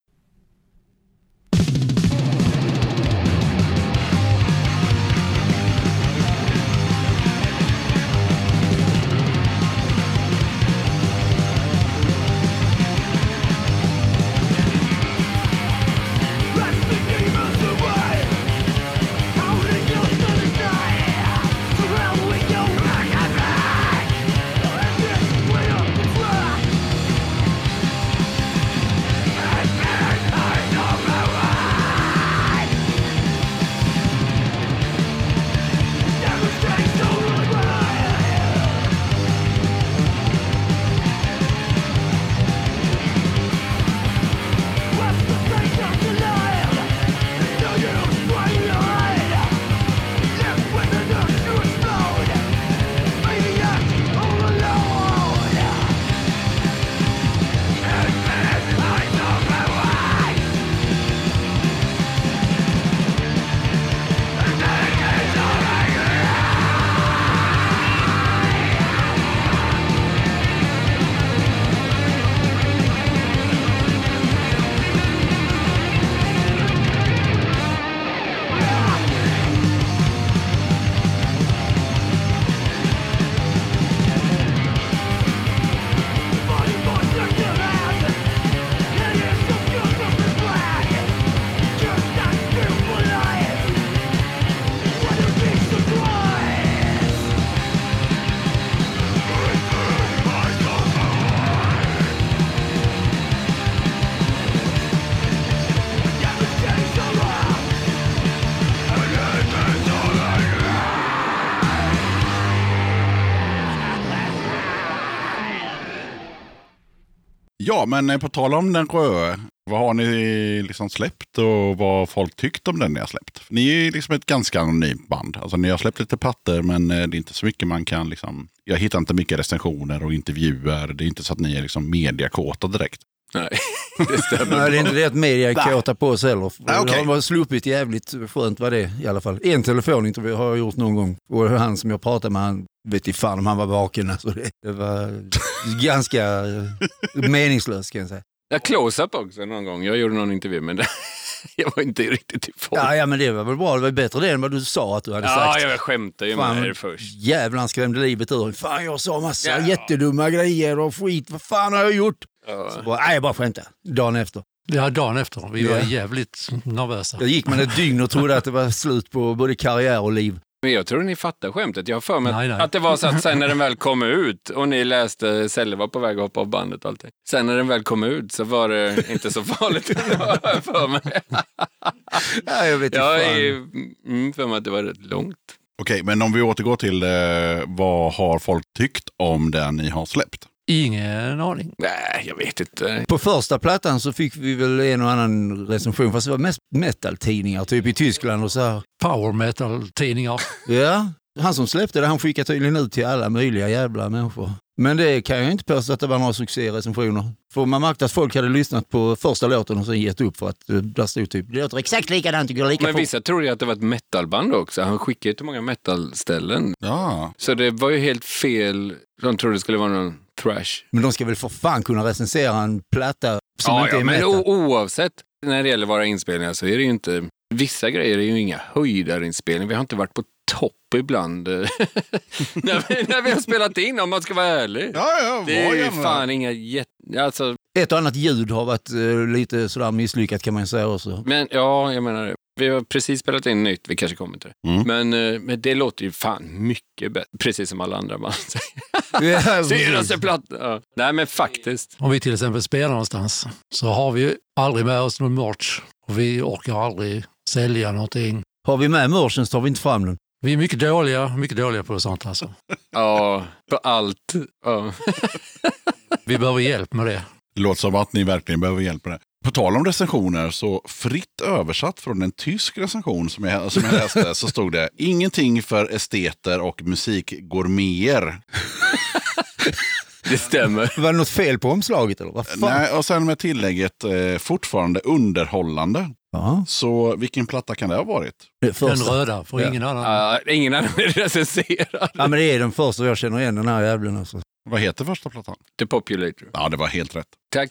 Ja, men eh, på tal om den röda, vad har ni liksom släppt och vad har folk tyckt om den ni har släppt? Ni är ju liksom ett ganska anonymt band. Alltså ni har släppt lite plattor men eh, det är inte så mycket man kan liksom... Jag hittar inte mycket recensioner och intervjuer. Det är inte så att ni är liksom mediakåta direkt.
Nej, det stämmer. *laughs*
Nej, det är inte det att media är kåta på oss heller.
Nej, okej.
De har sluppit jävligt skönt var det i alla fall. En telefonintervju har jag gjort någon gång och han som jag pratade med han vet inte fan om han var vaken. Alltså det, det var ganska eh, meningslöst kan jag säga.
Jag close-up också någon gång. Jag gjorde någon intervju, men *laughs* jag var inte riktigt i form.
Ja, ja men det var väl bra, det var bättre det än vad du sa att du hade
Ja,
sagt.
jag skämtade ju
Fan.
med er först.
Jävlar han skrämde livet ur en. Fan jag sa massa
Ja.
jättedumma grejer och skit, vad fan har jag gjort? Så
Ja.
bara, nej jag bara skämtade. Dagen efter.
Ja, dagen efter. Vi var
Ja.
jävligt nervösa.
Där gick man ett dygn och trodde att det var slut på både karriär och liv.
Men jag tror ni fattar skämtet. Jag har för mig
Nej, nej.
att det var så att sen när den väl kom ut och ni läste Selle var på väg att hoppa av bandet och allting. Sen när den väl kom ut så var det inte så farligt *laughs* har jag för mig.
Ja, jag vet inte
Jag
fan.
är mm, för mig att det var rätt långt.
Okej, men om vi återgår till eh, vad har folk tyckt om det ni har släppt?
Ingen aning.
Nej, jag vet inte.
På första plattan så fick vi väl en och annan recension, fast det var mest metal-tidningar, typ i Tyskland och så här.
Power metal-tidningar.
Ja, han som släppte det, han skickade tydligen ut till alla möjliga jävla människor. Men det kan jag inte påstå att det var några succérecensioner. För man märkte att folk hade lyssnat på första låten och sen gett upp för att eh, där stod typ det låter exakt likadant och går lika
Men
fort.
vissa trodde ju att det var ett metalband också. Han skickade ju till många metalställen.
Ja.
Så det var ju helt fel. De trodde det skulle vara någon thrash.
Men de ska väl för fan kunna recensera en platta som
ja,
inte
ja,
är
men
metal.
o- oavsett, när det gäller våra inspelningar så är det ju inte... Vissa grejer är ju inga höjdarinspelningar. Vi har inte varit på topp ibland *laughs* eh, när, vi, när vi har spelat in, om man ska vara ärlig.
Ja, ja,
det är
vad
ju
jävla-
fan inga jätte... Alltså,
Ett och annat ljud har varit eh, lite sådär misslyckat kan man ju säga
*laughs*
också.
men ja, jag menar det. Vi har precis spelat in nytt, vi kanske kommer till det.
Mm.
Men, eh, men det låter ju fan mycket bättre, precis som alla andra band. *laughs*
Ja,
Dyraste platta! Ja. Nej, men faktiskt.
Om vi till exempel spelar någonstans så har vi ju aldrig med oss någon merch och vi orkar aldrig sälja någonting.
Har vi med merchen så tar vi inte fram den.
Vi är mycket dåliga, mycket dåliga på sånt alltså.
Ja, på allt. Ja.
Vi behöver hjälp med det.
Det låter som att ni verkligen behöver hjälp med det. På tal om recensioner, så fritt översatt från en tysk recension som jag, som jag läste så stod det ingenting för esteter och musikgourmeter.
Det stämmer.
Var det något fel på omslaget eller? Vad fan?
Nej, och sen med tillägget eh, fortfarande underhållande.
Ja,
Så vilken platta kan det ha varit?
det är
Den
första.
röda, för ingen annan.
Ja, ingen annan vill recensera.
Ja, men det är den första jag känner igen den här jävlen alltså.
Vad heter första plattan?
The Populator.
Ja, det var helt rätt.
Tack.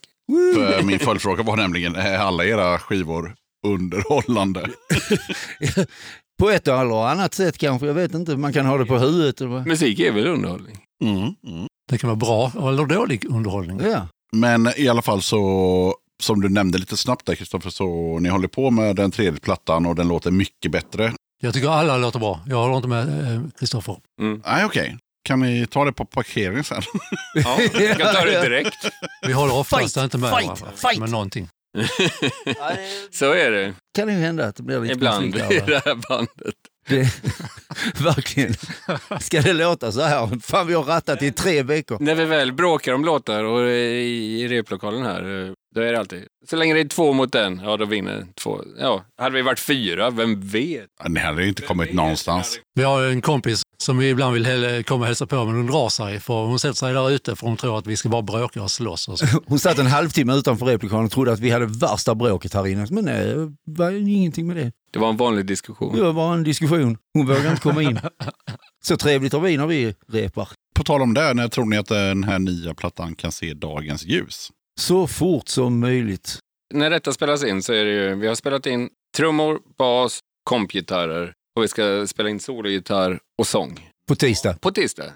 För *laughs* min följdfråga var nämligen, är alla era skivor underhållande?
På ett eller annat sätt kanske, jag vet inte. Man kan ha det på huvudet. Eller vad.
Musik är väl underhållning?
Mm, mm.
Det kan vara bra eller dålig underhållning.
Ja.
Men i alla fall så, som du nämnde lite snabbt där Kristoffer, så ni håller på med den tredje plattan och den låter mycket bättre.
Jag tycker alla låter bra. Jag håller inte med eh, Kristoffer.
Nej, okej. Kan ni ta det på parkeringen sen? *laughs*
Ja, jag kan ta det direkt.
Vi håller oftast
Fight,
inte med
fight,
varandra.
fight.
Men någonting.
Så är det
Kan det ju hända att det blir lite
ibland
*laughs*
konflikt
i
där, va?
det här bandet.
Det, *laughs* verkligen. Ska det låta så här? Fan, vi har rattat i tre veckor.
När vi väl bråkar om låtar och i i replokalen här, eh, då är det alltid. Så länge det är två mot en, ja då vinner två. Ja, hade vi varit fyra, vem vet?
Ja, Ni hade ju inte kommit någonstans.
Vi har en kompis som vi ibland vill häl- komma och hälsa på men hon drar sig för hon sätter sig där ute för hon tror att vi ska bara bråka och slåss. Och så.
*laughs* Hon satt en halvtimme utanför replikalen och trodde att vi hade värsta bråket här inne. Men nej, det var ju ingenting med det.
Det var en vanlig diskussion.
Det var bara en diskussion. Hon vågade inte komma in. Så trevligt har vi när vi repar.
På tal om det, när tror ni att den här nya plattan kan se dagens ljus?
Så fort som möjligt.
När detta spelas in så är det ju, vi har spelat in trummor, bas, kompgitarrer och vi ska spela in sologitarr och sång
På tisdag.
på tisdag.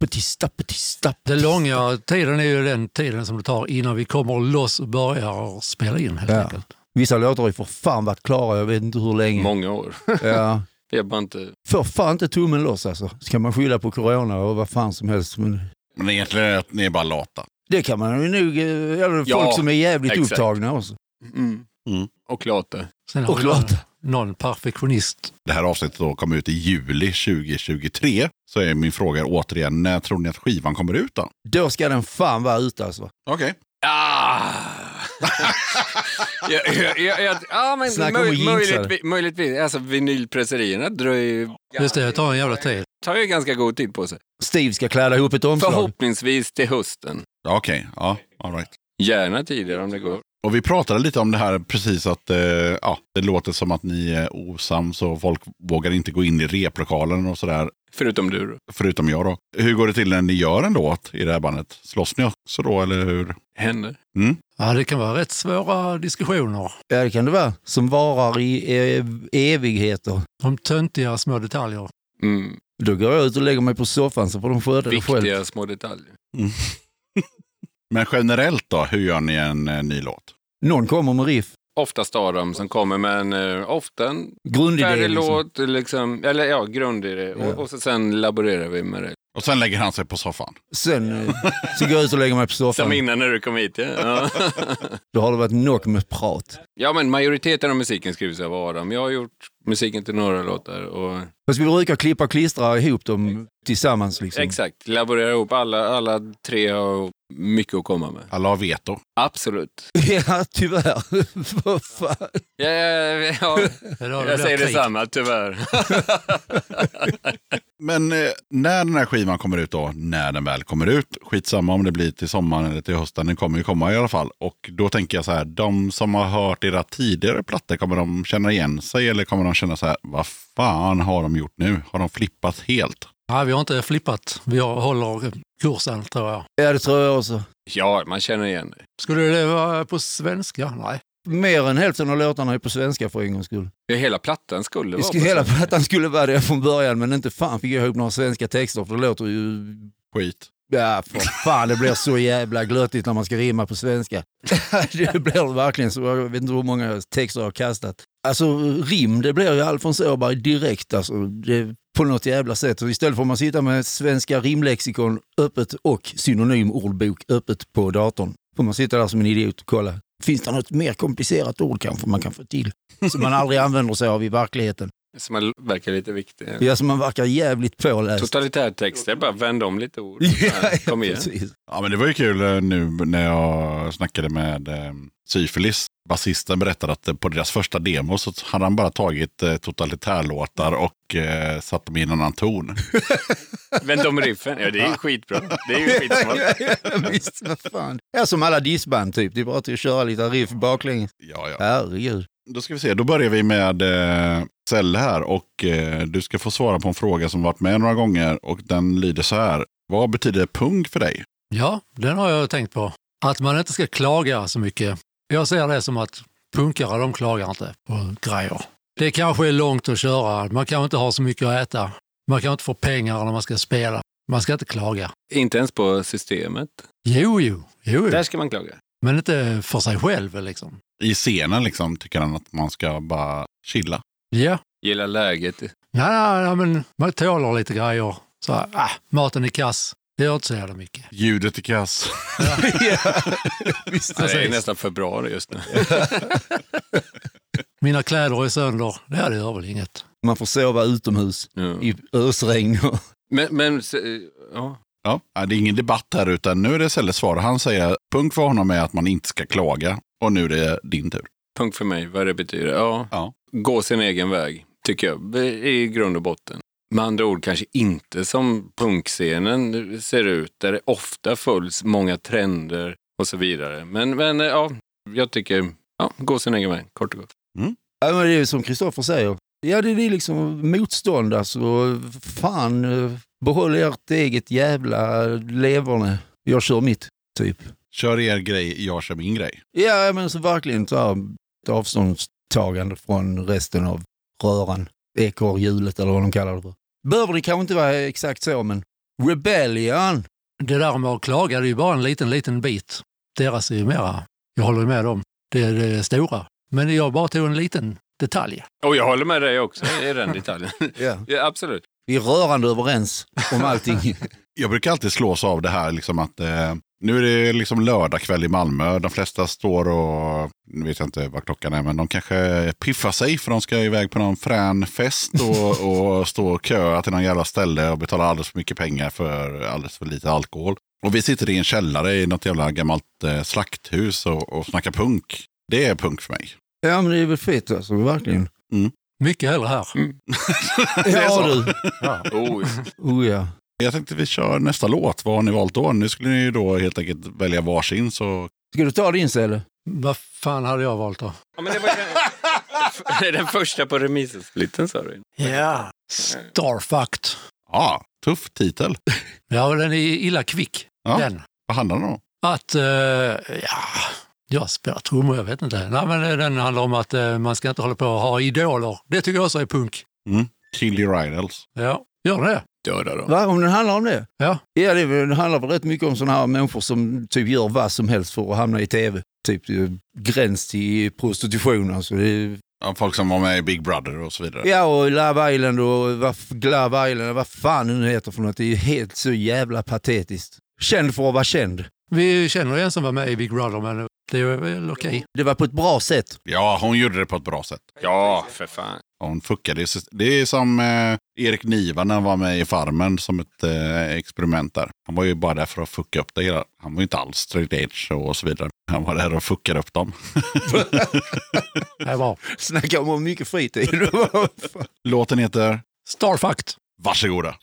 På tisdag, på tisdag. på
Den
tisdag.
långa tiden är ju den tiden som det tar innan vi kommer loss och börjar spela in helt
Ja.
enkelt.
Vissa låtar har ju för fan varit klara, jag vet inte hur länge.
Många år.
Ja.
Vi har bara inte
Får fan inte tummen loss alltså. Ska man skylla på corona och vad fan som helst. Men
Men egentligen är det att ni är bara lata.
det kan man ju nog, eh, eller
Ja,
folk som är jävligt
exakt.
upptagna också.
Mm.
Mm.
Och late.
Sen har
Och
vi någon-
klart.
någon perfektionist.
Det här avsnittet då kom ut i juli 2023. Så är min fråga återigen, när tror ni att skivan kommer ut då?
Då ska den fan vara ute alltså.
Okej.
Ah! *laughs* jag, jag, jag, jag, ja, men
Snacka om att
möj,
jinxa
möjligtvis, möjligtvis. Alltså vinylpresserierna dröjer
Just det, det tar en jävla tid.
tar ju ganska god tid på sig.
Steve ska kläda ihop ett omslag.
Förhoppningsvis till hösten.
Okej, ja, all right.
Gärna tidigare om det går.
Och vi pratade lite om det här precis att eh, ja, det låter som att ni är osams och folk vågar inte gå in i replokalen och sådär.
Förutom du då.
Förutom jag då. Hur går det till när ni gör en låt i det här bandet? Slåss ni också då eller hur?
Henne.
Ja, det kan vara rätt svåra diskussioner
Ja det kan det vara. Som varar i ev- evigheter.
om töntiga små detaljer.
Mm.
Då går jag ut och lägger mig på soffan så får de sköta det själv.
Viktiga små detaljer.
Men generellt då, hur gör ni en eh, ny låt?
Någon kommer med riff.
Oftast Adam som kommer med en, eh, ofta en
Grundidé.
färdig
Liksom.
låt, liksom, eller ja, grund i det.
Ja.
Och, och så sen laborerar vi med det.
Och sen lägger han sig på soffan.
Sen eh, så går jag ut och lägger mig på
Som
soffan.
innan när du kom
*laughs*
hit. Ja. Ja.
Då har det varit nog med prat.
Ja, men majoriteten av musiken skrivs av Adam. Jag har gjort musiken till några låtar och
Fast vi brukar klippa och klistra ihop dem tillsammans. Liksom.
exakt, laborera ihop. Alla, alla tre har mycket att komma med.
Alla har veto.
Absolut.
*laughs* Ja, tyvärr. *laughs* Vad fan.
Ja, ja, ja,
Eller har
ja.
det
Jag
blivit
säger
krig?
detsamma, tyvärr. *laughs*
Men eh, när den här skivan kommer ut då, när den väl kommer ut, skitsamma om det blir till sommaren eller till hösten, den kommer ju komma i alla fall. Och då tänker jag så här, de som har hört era tidigare plattor, kommer de känna igen sig eller kommer de känna så här, vad fan har de gjort nu? Har de flippat helt?
Nej, vi har inte flippat. Vi har, håller kursen, tror jag.
Ja, det tror jag också.
Ja, man känner igen det.
Skulle det vara på svenska? Nej.
Mer än hälften av låtarna är på svenska för en gångs skull.
Ja, Hela plattan skulle
Det
vara
skulle
på
hela
svenska.
plattan skulle vara det från början, men inte fan fick jag ihop några svenska texter, för det låter ju...
Skit.
Ja, för fan, det blir så jävla glöttigt när man ska rimma på
*laughs*
svenska. det blir det verkligen så. Jag vet inte hur många texter jag har kastat. Alltså rim, det blir ju Alfons Åberg direkt alltså. Det, på något jävla sätt. Och istället får man sitta med svenska rimlexikon öppet och synonymordbok öppet på datorn. Får man sitta där som en idiot och kolla. Finns det något mer komplicerat ord kanske man kan få till? Som man aldrig använder sig av i verkligheten.
Som man verkar lite viktig.
Ja, som man verkar jävligt påläst.
Totalitär text, det är bara vänd om lite
*laughs*
ord.
Ja, ja,
Kom igen.
precis.
Ja, men det var ju kul eh, nu när jag snackade med eh, Syfilis. Basisten berättade att eh, på deras första demo så hade han bara tagit eh, totalitärlåtar och eh, satt dem i en annan ton. *laughs*
Vänd om riffen. Ja, det är ju skitbra. Det är ju skitsmart.
ja, ja, visst, vad fan. Ja, som alla disband typ. Det är bara till att köra lite riff baklänges.
Ja, ja.
Herregud.
Då ska vi se, då börjar vi med eh, Selle här och eh, du ska få svara på en fråga som varit med några gånger och den lyder så här. Vad betyder punk för dig?
Ja, den har jag tänkt på. Att man inte ska klaga så mycket. Jag ser det som att punkare, de klagar inte på grejer. Det kanske är långt att köra. Man kanske inte har så mycket att äta. Man kanske inte får pengar när man ska spela. Man ska inte klaga.
Inte ens på systemet.
Jo, jo, jo.
Där ska man klaga.
Men inte för sig själv liksom.
I scenen liksom tycker han att man ska bara chilla.
Ja,
Gilla läget.
nej, nej, nej men man tålar lite grejer. Så, här, ah, maten är kass. Det gör inte så jävla mycket.
Ljudet i kass.
Ja, det är nästan februari just nu.
Mina kläder är sönder. Nej, det gör väl inget.
Man får sova utomhus
Ja.
i ösregn. och-
Men, men så, ja.
Ja, ja, det är ingen debatt här utan nu är det Selles svar. Han säger punk för honom är att man inte ska klaga. Och nu är det din tur.
punkt för mig vad det betyder. Ja,
Ja.
gå sin egen väg, tycker jag, i grund och botten. Med andra ord kanske inte som punkscenen ser ut, där det ofta följs många trender och så vidare. Men, men ja, jag tycker, ja, gå sin egen väg, kort och gott.
Ja, men det är ju som Kristoffer säger. Ja, det det är liksom motstånd alltså. Fan, eh, behåll ert eget jävla leverne. Jag kör mitt, typ.
Kör er grej, jag kör min grej.
Ja, men så verkligen så här, ett avståndstagande från resten av röran. Ekorrhjulet eller vad de kallar det för. Behöver det kanske inte vara exakt så, men Rebellion!
Det där med att klaga, det är ju bara en liten, liten bit. Deras är ju mera, jag håller med dem, det är det stora. Men jag bara tog en liten detalj.
Och jag håller med dig också i den detaljen.
Ja.
*laughs* ja, absolut.
Vi är rörande överens *laughs* om allting.
Jag brukar alltid slås av det här liksom att eh, nu är det liksom lördagkväll i Malmö. De flesta står och, nu vet jag inte vad klockan är, men de kanske piffar sig för de ska iväg på någon frän fest och, och stå och köa till någon jävla ställe och betala alldeles för mycket pengar för alldeles för lite alkohol. Och vi sitter i en källare i något jävla gammalt eh, slakthus och, och snackar punk. Det är punk för mig.
ja, men det är väl fett alltså, *laughs* verkligen.
Mycket hellre här.
Ja du.
Oh,
Oh ja.
Jag tänkte vi kör nästa låt. Vad har ni valt då? Nu skulle ni ju då helt enkelt välja varsin så
Ska du ta din Selle?
Vad fan hade jag valt då?
ja, men det, var ju den, det är den första på remissesplitten sa du.
Ja. Starfucked.
ja, tuff titel.
Ja, den är illa kvick,
Ja.
den.
Vad handlar den om?
Att, eh, ja, jag spelar trummor, jag vet inte. Nej, men eh, den handlar om att eh, man ska inte hålla på och ha idoler. Det tycker jag också är punk.
Kill your idols.
Ja, gör det.
Döda dem.
Va, om den handlar om det?
Ja.
Ja, det är väl- den handlar väl rätt mycket om sådana här människor som typ gör vad som helst för att hamna i tv. Typ eh, gräns till prostitution alltså. Det är,
Ja, folk som var med i Big Brother och så vidare.
ja, och Love Island och vad f- Glove Island, vad fan det nu heter för något. Det är ju helt så jävla patetiskt. Känd för att vara känd.
Vi känner en som var med i Big Brother, men Det är väl okej.
Det var på ett bra sätt.
Ja, hon gjorde det på ett bra sätt.
Ja, för fan.
Hon fuckade. Det är som eh, Erik Niva när han var med i Farmen som ett eh, experiment där. Han var ju bara där för att fucka upp det hela. Han var ju inte alls straight edge och så vidare. Han var där och fuckade upp dem.
Det är bra.
Snacka om mycket fritid.
Låten heter
Starfucked.
Varsågoda.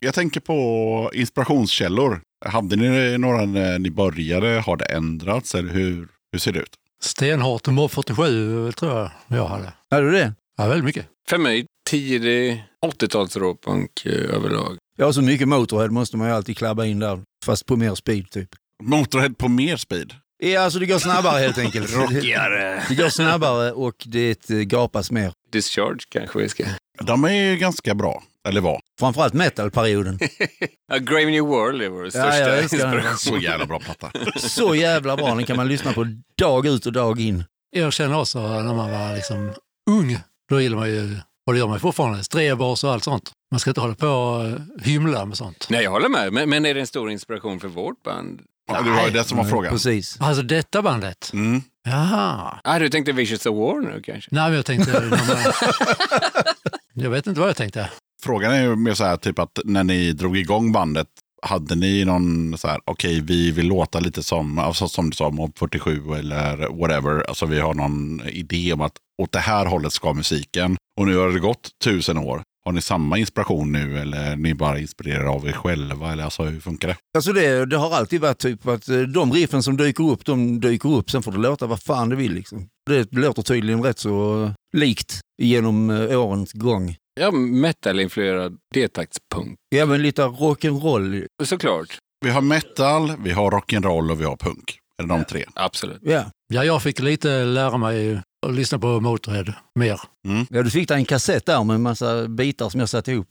Jag tänker på inspirationskällor. Hade ni några när ni började? Har det ändrats? Eller hur, hur ser det ut?
Stenhårt och Mob 47 tror jag jag hade.
*laughs* Hade du det?
Ja, väldigt mycket.
För mig, tidig 80-tals råpunk eh, överlag.
Ja, så mycket Motorhead måste man ju alltid klabba in där. Fast på mer speed typ.
Motorhead på mer speed.
Ja, alltså det går snabbare helt enkelt.
Rockigare.
Det går snabbare och det eh, gapas mer.
Discharge kanske vi ska...
De är ju ganska bra. Eller var.
Framförallt metalperioden.
A Grave New World är vår
Ja,
största
ja, jag ska-
inspiration.
Så jävla bra platta.
Så jävla bra, den kan man lyssna på dag ut och dag in.
Jag känner också när man var liksom ung, då gillade man ju, och det gör man ju fortfarande, strebars och allt sånt. Man ska inte hålla på och eh, hymla med sånt.
Nej, jag håller med. Men, men är det en stor inspiration för vårt band?
*laughs* Ja, det var ju det som var
Nej,
frågan.
Precis.
Alltså detta bandet?
Mm.
Jaha.
Ah, du tänkte Vicious of War nu kanske?
Nej, men jag tänkte... när man... Jag vet inte vad jag tänkte.
Frågan är ju mer så här typ att när ni drog igång bandet, hade ni någon så här, okej vi vill låta lite som, alltså som du sa, Mob 47 eller whatever, alltså vi har någon idé om att åt det här hållet ska musiken. Och nu har det gått tusen år. Har ni samma inspiration nu eller är ni bara inspirerade av er själva? Eller alltså hur funkar det?
Alltså det, det har alltid varit typ att eh, de riffen som dyker upp, de dyker upp. Sen får det låta vad fan det vill liksom. Det låter tydligen rätt så eh, likt genom eh, årens gång.
Ja, metal-influerad D-taktspunk.
Även lite rock'n'roll.
Såklart.
Vi har metal, vi har rock'n'roll och vi har punk. Är det de tre? *laughs*
Absolut.
Ja.
Ja, jag fick lite lära mig att lyssna på Motörhead mer.
ja, du fick där en kassett där med en massa bitar som jag satte ihop.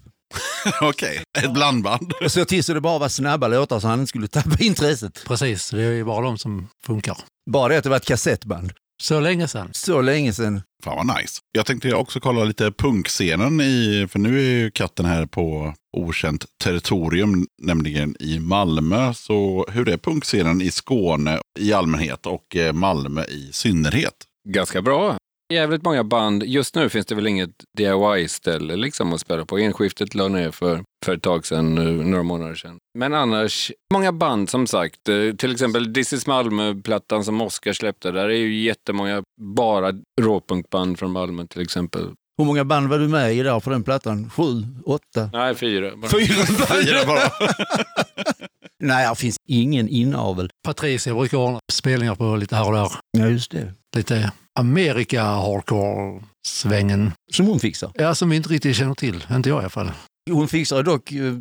Okej, ett blandband.
Jag såg till så det bara var snabba låtar så han inte skulle tappa intresset.
Precis, det är ju bara de som funkar.
Bara det att det var ett kassettband.
Så länge sedan.
Så länge sedan.
Fan vad nice. Jag tänkte också kolla lite punkscenen i, för nu är ju katten här på okänt territorium, nämligen i Malmö. Så hur är punkscenen i Skåne i allmänhet och eh, Malmö i synnerhet?
Ganska bra. Jävligt många band. Just nu finns det väl inget DIY-ställe liksom att spela på. Enskiftet la ner för, för ett tag sedan, nu, några månader sedan. Men annars, många band som sagt. Eh, Till exempel This is Malmö-plattan som Oscar släppte. Där är ju jättemånga bara råpunkband från Malmö till exempel.
Hur många band var du med i där på den plattan? Sju? Åtta?
Nej, fyra. Bara.
Fyra band?
Fyra *laughs* bara.
Nej, det finns ingen inavel.
Patricia brukar ordna spelningar på lite här och där.
Ja, just det.
Lite Amerika-hardcore-svängen.
Som hon fixar.
Ja, som vi inte riktigt känner till. Inte jag i alla fall.
Hon fixar dock eh,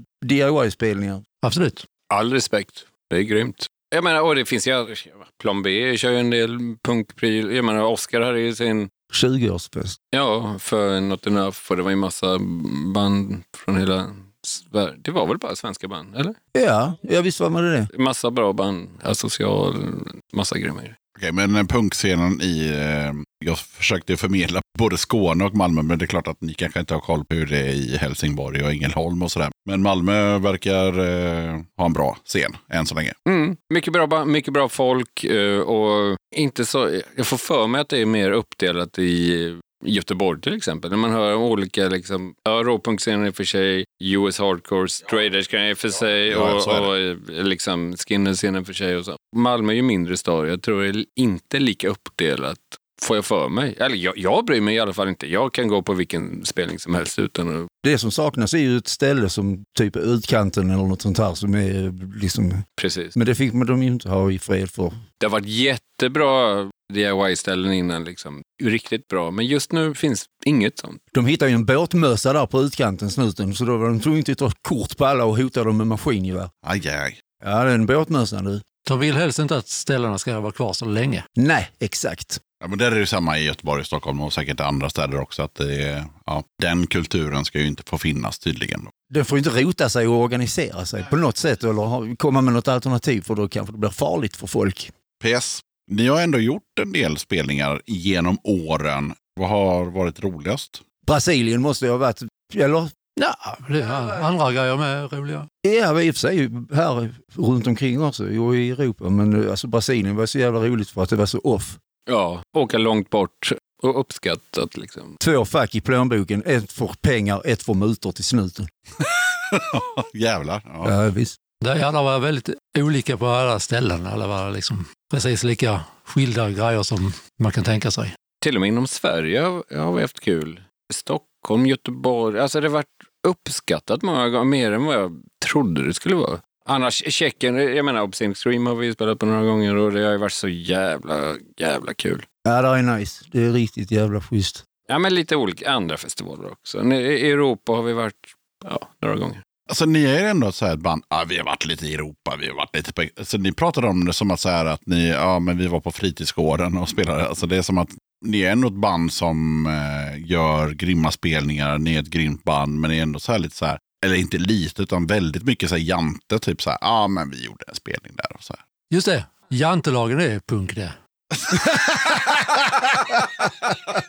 DIY-spelningar.
Absolut.
All respekt. Det är grymt. Jag menar, och det finns ju... Plan B kör ju en del punkpryl. Jag menar, Oscar hade ju sin
20-årsfest.
Ja, för Not Enough och det var ju massa band från hela Sverige. Det var väl bara svenska band, eller?
Ja, ja, visst var man det.
Massa bra band, asocial, massa grymma grejer.
Okej, men eh, punkscenen i, eh, jag försökte förmedla både Skåne och Malmö, men det är klart att ni kanske inte har koll på hur det är i Helsingborg och Ängelholm och sådär. Men Malmö verkar eh, ha en bra scen än så länge.
Mm. Mycket, bra, ba- mycket bra folk eh, och inte så... Jag får för mig att det är mer uppdelat i eh, Göteborg till exempel. När man hör olika, liksom, ja, råpunkscenen är för sig, US hardcore, straight edge grejer för sig
Ja,
och,
så är det.
och eh, liksom skinner-scenen för sig och så. Malmö är ju mindre stad, jag tror det är inte lika uppdelat får jag för mig. Eller jag, jag bryr mig i alla fall inte. Jag kan gå på vilken spelning som helst utan att...
Det som saknas är ju ett ställe som typ utkanten eller något sånt här som är eh, liksom,
Precis.
men det fick man de ju inte ha i fred för.
Det har varit jättebra DIY-ställen innan, liksom. riktigt bra. Men just nu finns inget sånt.
De hittade ju en båtmössa där på utkanten, snuten, så då var de tvungna att ta kort på alla och hota dem med maskingevär.
Aj, aj.
Ja, den båtmössan du.
De vill helst inte att ställena ska vara kvar så länge.
Nej, exakt.
Ja, men där är det samma i Göteborg, Stockholm och säkert andra städer också. Att det är, ja, den kulturen ska ju inte få finnas tydligen.
Den får ju inte rota sig och organisera sig på något sätt eller ha- komma med något alternativ för då kanske det blir farligt för folk.
PS, ni har ändå gjort en del spelningar genom åren. Vad har varit roligast? *laughs*
Brasilien måste ju ha varit, eller
Ja, det är andra grejer med roliga.
Ja, i och för sig här runt omkring också och i Europa. Men eh, alltså, Brasilien var så jävla roligt för att det var så off.
Ja, åka långt bort och uppskattat liksom.
Två fack i plånboken, ett för pengar, ett för mutor till snuten.
Jävlar. Ja.
Ja, visst.
Det ja, det var väldigt olika på alla ställen. Alla var liksom precis lika skilda grejer som man kan tänka sig.
Till och med inom Sverige har har vi haft kul. Stockholm, Göteborg. Alltså det har varit uppskattat många gånger, mer än vad jag trodde det skulle vara. Annars Tjeckien, jag menar Obscene Scream har vi ju spelat på några gånger och det har ju varit så jävla, jävla kul.
Ja, det är nice. Det är riktigt jävla schysst.
Ja, men lite olika andra festivaler också. I Europa har vi varit, ja, några gånger.
Alltså ni är ändå ett så här ett band, ah, vi har varit lite i Europa, vi har varit lite på... Alltså, ni pratar om det som att, så här, att ni, ja, men vi var på fritidsgården och spelade. Alltså, det är som att ni är ändå ett band som eh, gör grymma spelningar, ni är ett grymt band, men ni är ändå så här lite så här, eller inte lite utan väldigt mycket så här jante, typ så här, ja ah, men vi gjorde en spelning där och så här.
Just det, jantelagen är punk det.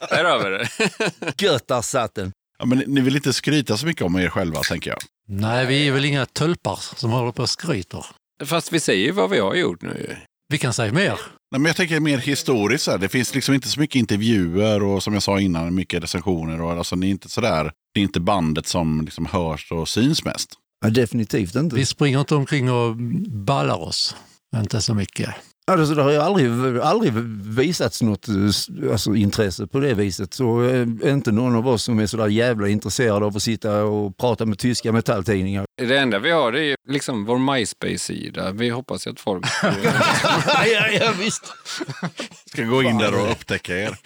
Där har vi det.
Gött, där satt den.
Ja, men ni- ni vill inte skryta så mycket om er själva tänker jag.
Nej, vi är väl inga tölpar som håller på och skryter.
Fast vi säger ju vad vi har gjort nu ju.
Vi kan säga mer.
Nej, men jag tänker mer historiskt. Så här. Det finns liksom inte så mycket intervjuer och som jag sa innan, mycket recensioner. Och, alltså, ni är inte sådär, det är inte bandet som liksom hörs och syns mest.
Ja, definitivt inte.
Vi springer inte omkring och ballar oss. Inte så mycket.
Alltså, det har ju aldrig, aldrig visats något eh, s- alltså, intresse på det viset. Så eh, inte någon av oss som är så där jävla intresserade av att sitta och prata med tyska metalltidningar.
Det enda vi har det är ju liksom vår MySpace-sida. Vi hoppas ju att folk...
*laughs* ja, ja, visst.
Ska gå in där och upptäcka er.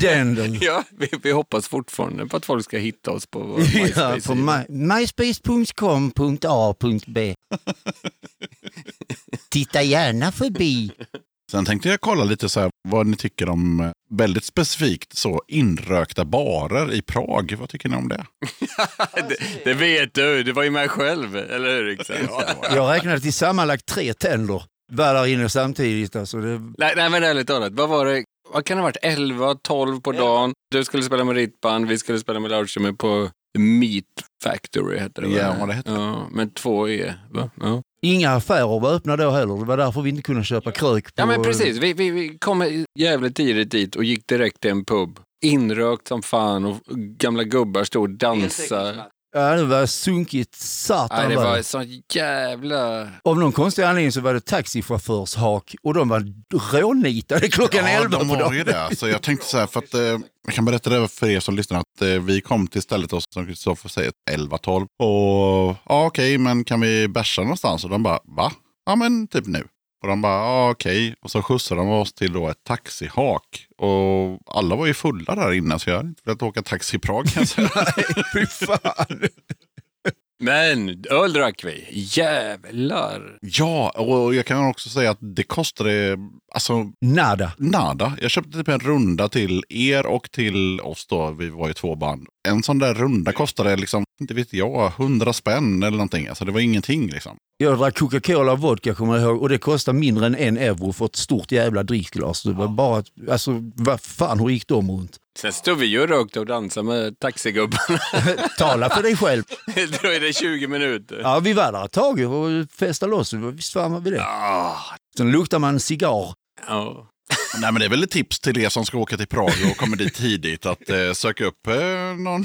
Den, *laughs* den.
*laughs* ja, *laughs* vi, vi hoppas fortfarande på att folk ska hitta oss på vår
Ja, på
MySpace-sida.
my, myspace.com.a.b. Titta gärna förbi.
Sen tänkte jag kolla lite så här, vad ni tycker om eh, väldigt specifikt så inrökta barer i Prag. Vad tycker ni om det?
det, det vet du, du var ju med själv, eller hur Rickard?
Jag räknade till sammanlagt tre tänder. Var där inne samtidigt. Alltså det,
nej, nej, men ärligt talat, vad var det? Vad kan det ha varit? 11, 12 på dagen. Du skulle spela med ditt band, vi skulle spela med Lautströmer på Meat Factory, hette det va?
Ja, vad det hette.
Ja, men två E, va? Ja.
inga affärer var öppna då heller. Det var därför vi inte kunde köpa krök. På,
Ja men precis, vi, vi, vi kom jävligt tidigt dit och gick direkt till en pub. Inrökt som fan och gamla gubbar stod och dansade.
Ja, det var sunkigt
Nej,
satan.
det
var
var
det.
sån jävla...
Av någon konstig anledning så var det taxichaufförshak och de var rånitade klockan elva
de
på
var ju
dagen.
det. Så jag tänkte så här, för att, eh, jag kan berätta det för er som lyssnar, att eh, vi kom till stället och som Kristoffer säger 11-12. Och ja, okej, men kan vi bärsa någonstans? Och de bara, va? Ja, men typ nu. Och de bara, ja, okej. Och så skjutsade de oss till då ett taxihak. Och alla var ju fulla där inne, så jag hade inte velat åka taxi i Prag kan jag säga. *laughs*
*laughs* Fy fan.
Men öl drack vi, jävlar.
Ja, och jag kan också säga att det kostade Alltså,
Nada.
nada. Jag köpte typ en runda till er och till oss då. Vi var ju två band. En sån där runda kostade liksom, inte vet jag, hundra spänn eller någonting. Alltså det var ingenting liksom.
Jag drack Coca-Cola och vodka kommer jag ihåg och det kostade mindre än en euro för ett stort jävla drickglas. Det var bara, alltså vad fan, hur gick de runt? *laughs*
Sen stod vi och rökte och dansade med taxigubbarna.
Tala för dig själv.
det dröjde 20 minuter.
Ja, vi var där ett tag och festade loss. Visst fan var vi det?
Ah,
Sen luktar man cigarr.
ja.
Nej, men det är väl ett tips till er som ska åka till Prag och kommer dit tidigt att eh, söka upp eh,
*laughs*
någon.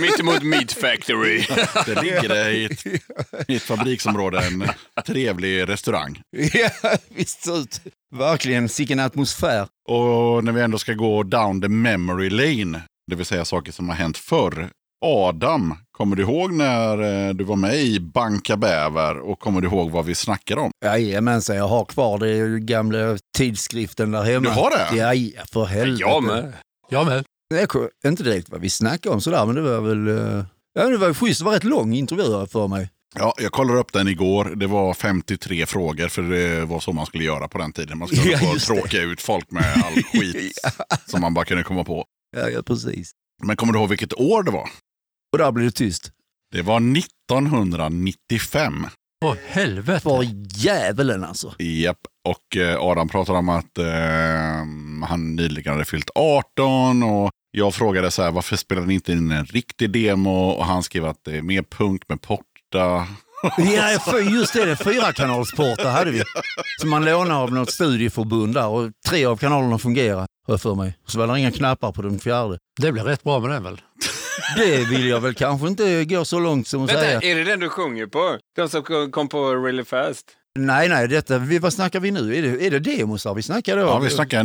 Mittemot Meat Factory.
Det ligger det i ett, i ett fabriksområde, en trevlig restaurang.
*laughs* Ja, visst ser ut. Verkligen, sicken atmosfär.
Och när vi ändå ska gå down the memory lane, det vill säga saker som har hänt förr. Adam, kommer du ihåg när eh, du var med i Banka Bäver och kommer du ihåg vad vi snackar om?
Jajamensan, jag har kvar den gamla tidskriften där
Du
hemma.
har det?
Ja, ja, för helvete.
Jag med.
Jag med.
Jag kom, inte direkt vad vi snackade om sådär, men det var väl... eh, Ja, det var schysst. Det var rätt lång intervju har jag för mig.
Ja, jag kollade upp den igår. Det var 53 frågor för det var så man skulle göra på den tiden. Man skulle
Ja,
*laughs* ja,
just det.
tråka ut folk med *laughs* all skit som man bara kunde komma på.
Ja, ja, precis.
Men kommer du ihåg vilket år det var?
Och där blev det tyst.
Det var 1995.
Åh helvete.
För djävulen alltså.
Japp. Och eh, Adam pratade om att eh, han nyligen hade fyllt 18 och jag frågade så här, varför spelar ni inte in en riktig demo? Och han skrev att det är mer punk med porta.
Ja, för just det. det Fyrakanalsportar hade vi. Som man lånade av något studieförbund där och tre av kanalerna fungerade, har jag för mig. Så var det inga knappar på den fjärde.
Det blev rätt bra med den väl?
Det vill jag väl kanske inte gå så långt som att säga.
Vänta, är det den du sjunger på? De som kom på Really Fast?
Nej, nej, detta, vi, vad snackar vi nu? Är det, är det demosar vi snackar då?
Ja, vi snackar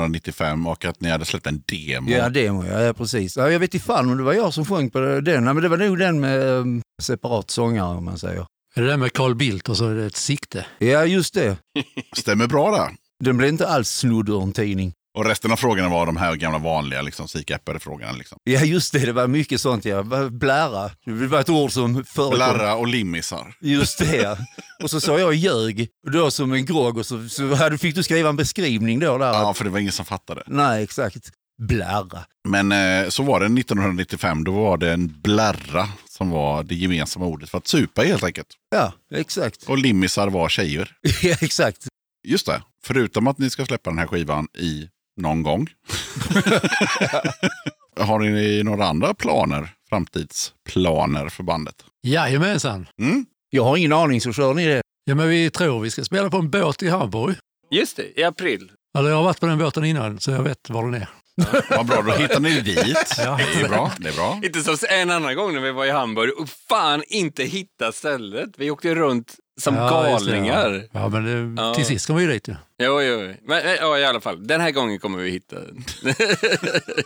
1995 och att ni hade släppt en demo.
Ja, demo, ja, ja precis. Ja, jag vet inte fan om det var jag som sjöng på den. Ja, men det var nog den med ehm, separat sångare om man säger.
Är det den med Carl Bildt och så är det ett sikte?
Ja, just det.
Stämmer bra där.
Den blev inte alls snodd ur en tidning.
Och resten av frågorna var de här gamla vanliga, liksom, psykäppade frågorna. Liksom.
Ja, just det. Det var mycket sånt. Ja. Va- Blära. Det var ett ord som förekom.
Larra och limmisar.
Just det. ja. Och så sa jag ljög. Och Då som en grogg. Och så, så hade, fick du skriva en beskrivning då. Där.
Ja, för det var ingen som fattade.
Nej, exakt. Blära.
Men eh, så var det 1995, då var det en blarra som var det gemensamma ordet för att supa helt enkelt.
Ja, exakt.
Och limmisar var tjejer.
*laughs* Ja, exakt.
Just det, förutom att ni ska släppa den här skivan i någon gång. Har ni några andra planer, framtidsplaner för bandet?
Jajamensan.
Mm?
Jag har ingen aning, så kör ni det.
Ja, men vi tror vi ska spela på en båt i Hamburg.
Just det, i april.
Eller jag har varit på den båten innan, så jag vet var den är.
Vad bra, då hittar ni dit.
Ja.
Det
*laughs*
är bra. Det är bra.
Inte som en annan gång när vi var i Hamburg och fan inte hitta stället. Vi åkte runt som
Ja, just det, ja.
galningar.
Ja, men det,
Ja.
till sist kom vi ju dit ju.
Jo, jo. jo. Men, eh, ja, i alla fall. Den här gången kommer vi hitta den. *laughs*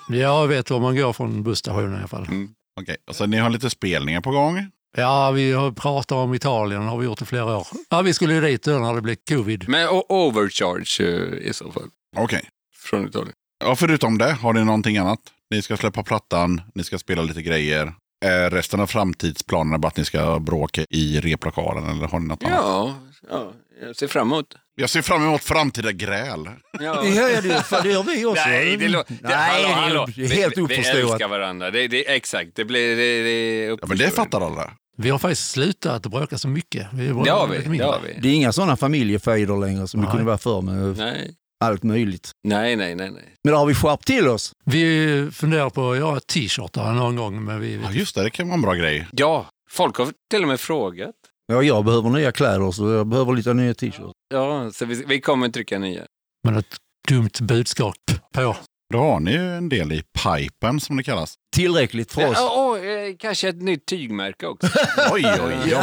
Jag vet var man går från busstationen i alla fall.
Mm.
Okej, och så ni har lite spelningar på gång.
Ja, vi har pratat om Italien, har vi gjort i flera år. Ja, vi skulle ju dit då när det blev covid.
Men o- overcharge eh, i så fall.
Okej.
Från Italien.
Ja, förutom det, har ni någonting annat? Ni ska släppa plattan, ni ska spela lite grejer. Är resten av framtidsplanerna bara att ni ska bråka i replokalen eller har ni något annat?
Ja, ja, jag ser fram emot.
Jag ser fram emot framtida gräl.
Ja.
Ja, ja, det, fan, det gör vi också. Mm.
Nej, det, lå- det,
Nej,
hallå, hallå.
det är helt
vi, vi
oförståeligt.
älskar varandra. Det, det, exakt, det blir... Det, det
Ja,
är
men det
uppförståeligt.
fattar alla.
Vi har faktiskt slutat att bråka så mycket. Vi bråkar
Det har
lite
vi. Det
mindre.
har vi.
Det är inga sådana familjefejder längre som det
Nej.
kunde vara förr med
Nej,
allt möjligt.
nej, nej. nej, nej.
Men då har vi skärpt till oss.
Vi funderar på att göra t-shirtar någon gång, men vi...
Ja, just det, det kan vara en bra grej.
Ja, folk har till och med frågat.
Ja, jag behöver nya kläder så jag behöver lite nya t-shirts.
Ja, så vi, vi kommer trycka nya.
Men ett dumt budskap på.
Då har ni ju en del i pipen som det kallas.
Tillräckligt för oss.
Ja, och, eh, kanske ett nytt tygmärke också.
Oj, oj, oj,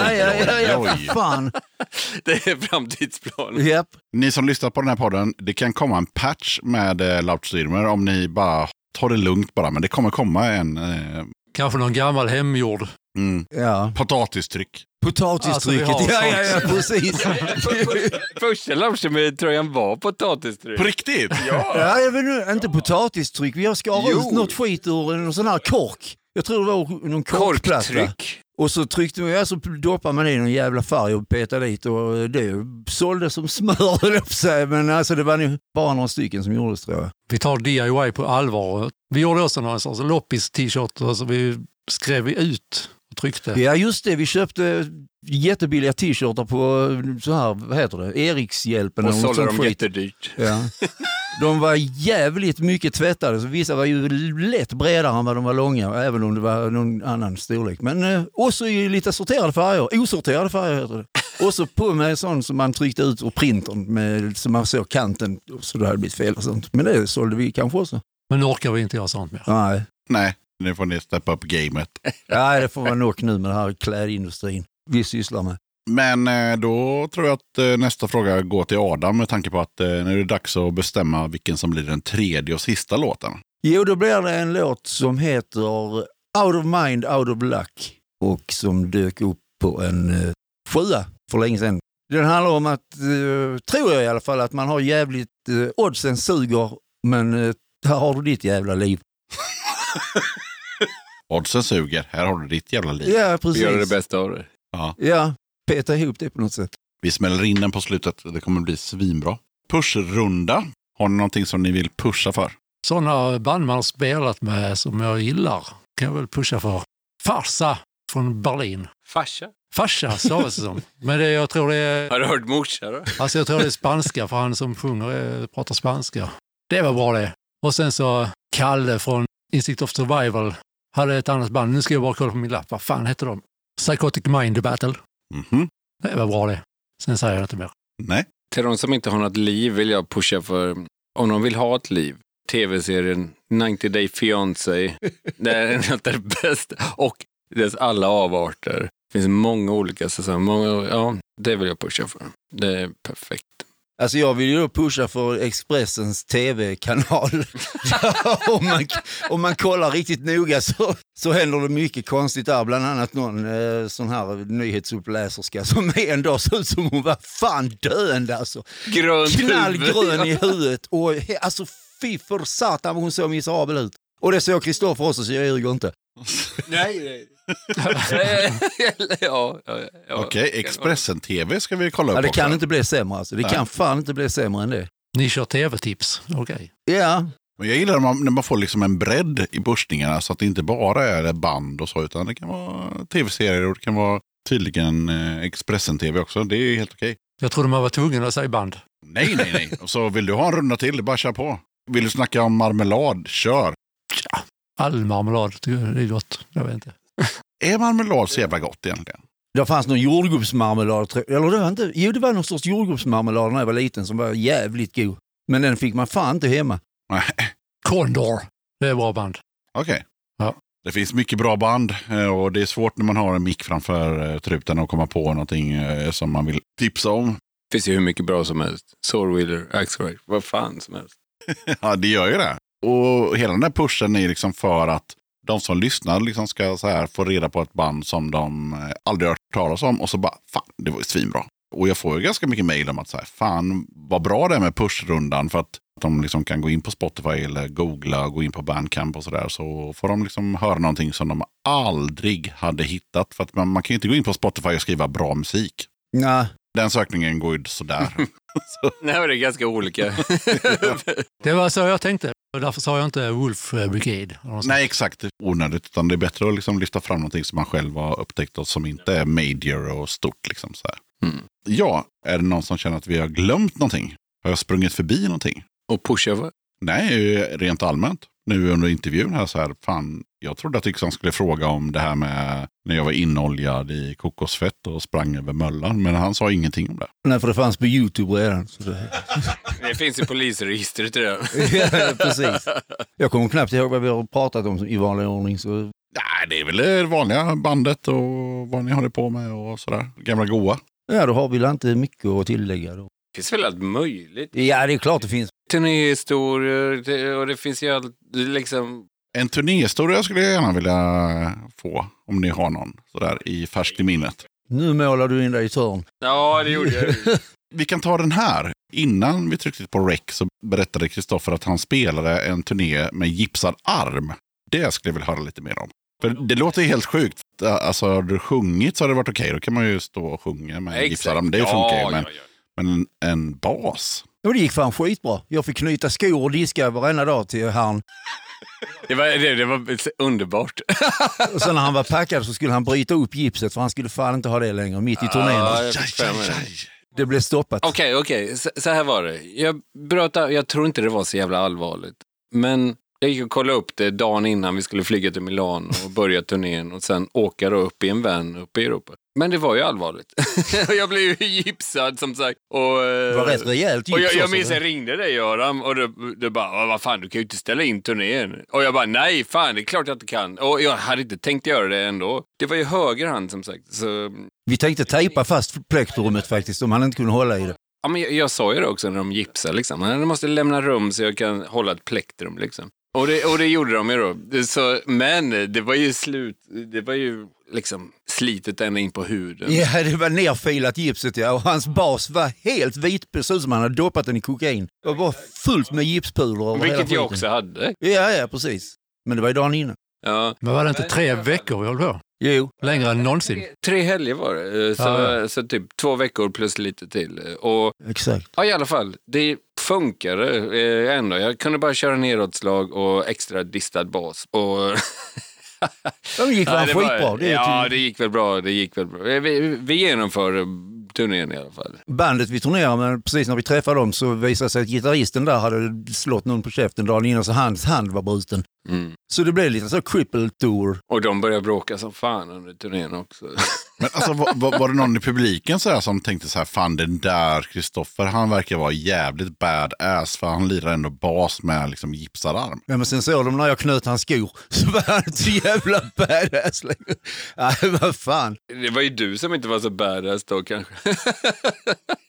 oj, oj.
Fan.
*laughs* det är framtidsplanen.
Japp.
Ni som lyssnar på den här podden, det kan komma en patch med eh, Lautstyrmer om ni bara tar det lugnt bara. Men det kommer komma en eh,
Kanske någon gammal hemgjord.
mm,
Ja.
potatistryck.
Potatistrycket.
Alltså, vi
ja,
har
ja, ja,
sånt.
precis.
Första Launcher-tröjan var potatistryck.
På riktigt?
ja, jag vet nu, inte potatistryck. Vi har skarat
Jo.
ut något skit ur en sån här kork. Jag tror det var någon korkplatta.
Korktryck.
Och så tryckte man, alltså doppade man i någon jävla färg och petade dit och det sålde som smör *laughs* höll jag på att säga. Men alltså det var nog bara några stycken som gjordes tror jag.
Vi tar DIY på allvar. Vi gjorde också några sorts loppis-t-shirt och så vi skrev vi ut och tryckte.
Ja just det, vi köpte jättebilliga t-shirtar på så här, vad heter det, Erikshjälpen
Och
eller något
sålde
sånt
dem
skit.
jättedyrt.
Ja. De var jävligt mycket tvättade, så vissa var ju lätt bredare än vad de var långa, även om det var någon annan storlek. Men eh, också i lite sorterade färger, osorterade färger heter det. Och så på med en sån som man tryckte ut ur printern, med, så man såg kanten, så det hade blivit fel och sånt. Men det sålde vi kanske också.
Men nu orkar vi inte göra sånt mer.
Nej,
*laughs* Nej, nu får ni steppa upp gamet.
Nej det får vara nog nu med den här klädindustrin vi sysslar med.
Men eh, då tror jag att eh, nästa fråga går till Adam med tanke på att eh, nu är det dags att bestämma vilken som blir den tredje och sista låten.
Jo, då blir det en låt som heter Out of Mind, Out of Luck och som dök upp på en eh, sjua för länge sedan. Den handlar om att, eh, tror jag i alla fall, att man har jävligt, eh, oddsen suger, men eh, här har du ditt jävla liv.
Oddsen suger, här har du ditt jävla liv.
Ja,
Vi
precis.
gör det bästa av det.
Ja, peta ihop det på något sätt.
Vi smäller in den på slutet, det kommer bli svinbra. Pushrunda, har ni någonting som ni vill pusha för?
Sådana band man har spelat med som jag gillar kan jag väl pusha för. Farsa från Berlin.
Farsa?
Farsa stavas det som. Men det, jag, tror det är,
Har du hört morsa då?
alltså jag tror det är spanska för han som sjunger är, pratar spanska. Det var bra det. Och sen så Kalle från Instinct of Survival hade ett annat band. Nu ska jag bara kolla på min lapp. Vad fan hette de? Psychotic Mind Battle.
Mhm.
Det var bra det. Sen säger jag inte mer.
Nej.
Till de som inte har något liv vill jag pusha för, om de vill ha ett liv, tv-serien 90 Day Fiancé. Det är en av de bästa. Och dess alla avarter. Det finns många olika säsonger. Många, ja, det vill jag pusha för. Det är perfekt.
Alltså jag vill ju då pusha för Expressens *laughs* tv-kanal. om, man, om man kollar riktigt noga så, så händer det mycket konstigt där. Bland annat någon eh, sån här nyhetsuppläserska som en dag såg ut som hon var fan döende alltså.
Grönt
Knallgrön i huvudet och he- alltså fy för satan vad hon såg miserabel ut. Och det såg Kristoffer också så jag ljuger inte.
Nej, nej. *laughs* ja, ja, ja, ja.
Okej, Expressen-TV ska vi kolla upp
Ja, det
också.
kan inte bli sämre alltså. Det
Nej.
kan fan inte bli sämre än det.
Ni kör tv-tips. Okej.
Ja,
Men jag gillar när man, när man får liksom en bredd i börsningarna så att det inte bara är band och så utan det kan vara tv-serier och det kan vara tydligen eh, Expressen-TV också. Det är helt okej.
Jag trodde man var tvungen att säga band.
Nej, nej,
*laughs*
nej. Och så vill du ha en runda till, bara kör på. Vill du snacka om marmelad, kör.
All marmelad tycker jag det är gott. Jag vet inte.
Är marmelad så jävla gott egentligen?
Det fanns någon jordgubbsmarmelad, tror jag. eller det var inte, jo det var någon sorts jordgubbsmarmelad när jag var liten som var jävligt god. Men den fick man fan inte hemma.
Nej,
Condor. Det är bra band.
okej.
Ja.
Det finns mycket bra band eh, och det är svårt när man har en mick framför eh, truten och komma på någonting eh, som man vill tipsa om.
Det finns ju hur mycket bra som helst. Soulwheeler, Axelride, vad fan som helst.
Ja, det gör ju det. Och hela den här pushen är liksom för att de som lyssnar liksom ska så här få reda på ett band som de eh, aldrig har hört talas om och så bara, fan, det var ju svinbra. Och jag får ju ganska mycket mejl om att så här, fan vad bra det är med pushrundan för att de liksom kan gå in på Spotify eller googla och gå in på Bandcamp och sådär. Så får de liksom höra någonting som de aldrig hade hittat. För att man, man kan ju inte gå in på Spotify och skriva bra musik.
Nej,
Den sökningen går ju sådär. *laughs*
Nej, men det är ganska olika. *laughs*
Det var så jag tänkte. Och därför sa jag inte Wolf Brigade. eller något sånt.
Nej, exakt. Onödigt. Utan det är bättre att liksom lyfta fram någonting som man själv har upptäckt och som inte är major och stort. Liksom, så här.
Mm.
Ja, är det någon som känner att vi har glömt någonting? Har jag sprungit förbi någonting?
Och pusha för.
Nej, rent allmänt. Nu under intervjun här så här, fan, jag trodde att Yxan skulle fråga om det här med när jag var inoljad i kokosfett och sprang över möllan, men han sa ingenting om det.
nej för det fanns på Youtube redan. Så det, *laughs*
Det finns i polisregistret redan.
ja, precis. Jag kommer knappt ihåg vad vi har pratat om i vanlig ordning. Så,
Nej, det är väl det vanliga bandet och vad ni håller på med och sådär. Gamla goa.
ja, då har vi väl inte mycket att tillägga då.
Det finns väl allt möjligt.
Ja, det är klart det finns.
Turnéhistorier det- och det finns ju allt, liksom...
En turnéhistoria skulle jag gärna vilja få, om ni har någon sådär i färskt i minnet.
Nu målar du in dig i törn.
Ja, det gjorde *laughs* jag.
Vi kan ta den här. Innan vi tryckte på rec så berättade Kristoffer att han spelade en turné med gipsad arm. Det skulle jag vilja höra lite mer om. För det låter ju helt sjukt. Alltså, har du sjungit så har det varit okej. Då kan man ju stå och sjunga med en gitarr. Det funkar ju.
ja,
Men,
ja.
men en bas?
Och det gick fan skitbra. Jag fick knyta skor och diska varenda dag till han.
Det, var, det, det var underbart.
Och sen när han var packad så skulle han bryta upp gipset för han skulle fan inte ha det längre mitt i turnén.
Ja, jag fick fem minuter.
Det blev stoppat.
Okej, okej. Så, så här var det. Jag bröt av- Jag tror inte det var så jävla allvarligt. Men jag gick och kollade upp det dagen innan vi skulle flyga till Milano och börja turnén och sen åka då upp i en van uppe i Europa. Men det var ju allvarligt. *laughs* jag blev ju gipsad som sagt. Och, eh,
Det var rätt rejält alltså. gips
och jag, jag
också.
minns jag ringde dig Göran och du, du bara, "Ja, vad fan du kan ju inte ställa in turnén. Och jag bara, nej fan det är klart jag inte kan. Och jag hade inte tänkt göra det ändå. Det var ju höger hand som sagt. Så, mm,
Vi tänkte tejpa fast plektrumet faktiskt om han inte kunde hålla i det.
ja, men jag, jag sa ju det också när de gipsade liksom. "Nej, De måste lämna rum så jag kan hålla ett plektrum liksom. Och det, och det gjorde de ju då. Det- Så, men det var ju slut, det var ju liksom slitet ända in på huden.
Ja, det var nerfilat gipset ja. Och hans bas var helt vit, precis som han hade doppat den i kokain. Det var bara fullt med gipspulor över hela
Vilket jag
skiten.
också hade.
Ja, ja, precis. Men det var ju dagen innan.
Ja.
Men var det inte tre veckor vi höll på?
Jo.
Längre än någonsin.
Tre helger var det. eh, Så,
Ja,
så typ två veckor plus lite till. Och
Exakt.
Ja, i alla fall. Det funkade eh, ändå. Jag kunde bara köra neråtslag och extra distad bas. Och...
Ja, men gick
Nej,
fan
var-
skitbra. Det är typ-
ja,
till-
det gick väl bra. Det gick väl bra. Eh, Vi, vi genomförde turnén i alla fall.
Bandet vi turnerade med, precis när vi träffade dem så visade det sig att gitarristen där hade slått någon på käften dagen innan så hans hand var bruten.
Mm.
Så det blev lite så cripple tour.
Och de började bråka som fan under turnén också. *laughs*
Men alltså, var, var, var det någon i publiken så här som tänkte så här, fan den där Kristoffer, han verkar vara jävligt badass för han lirar ändå bas med liksom gipsad arm.
Ja, men sen såg de när jag knöt hans skor *laughs* så var han så jävla badass längre. Nej, vad fan.
Det var ju du som inte var så badass då kanske.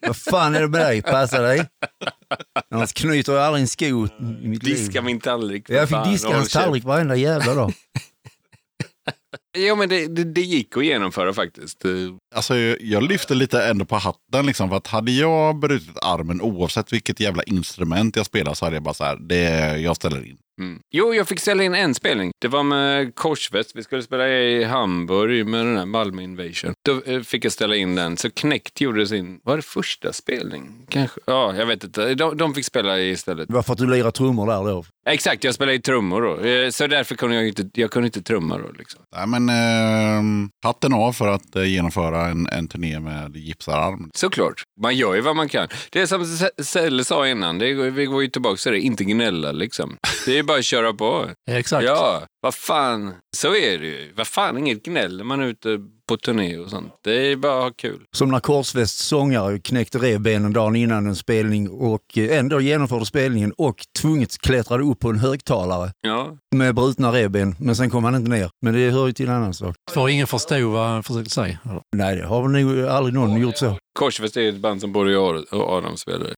Vad fan är det med dig? Passa dig. Annars knyter jag aldrig en sko i mitt
Mm, Diska
liv.
min tallrik. för
Jag fick
fan,
diska
håll
hans
käft.
tallrik varenda jävla
*laughs*
dag.
Ja, men det, det, det gick att genomföra faktiskt. Eh,
Alltså, jag- jag lyfter lite ändå på hatten liksom, för att hade jag brutit armen oavsett vilket jävla instrument jag spelar så hade jag bara så här, det, jag ställer in.
Mm. Jo, jag fick ställa in en spelning. Det var med Korsfest. Vi skulle spela i Hamburg med den här Malmö Invasion. Då eh, fick jag ställa in den. Så Knäckt gjorde sin, var det första spelning? Kanske? Ja, jag vet inte. De, de fick spela istället.
Det var för att du lirar trummor där då.
Exakt, jag spelade i trummor då. Eh, Så därför kunde jag inte, jag kunde inte trumma då. Liksom.
Nej, men eh, hatten av för att eh, genomföra en, en turné med gipsad arm.
Såklart, man gör ju vad man kan. Det är som Se- Selle sa innan, det, är- vi går ju tillbaka till det, inte gnälla liksom. Det är bara att köra på.
Exakt.
Ja, vad fan. Så är det ju. Vad fan, inget gnäll när man är ute på turné och sånt. Det är bara att ha kul.
Som när Korsfästs sångare knäckte revbenen dagen innan en spelning och eh, ändå genomförde spelningen och tvunget klättrade upp på en högtalare
Ja.
med brutna revben. Men sen kom han inte ner. Men det hör ju till en annan sak.
För ingen förstod vad han försökte säga. Eller?
Nej, det har väl nog aldrig någon gjort så.
Korsfest är ett band som både jag och Adam spelar i.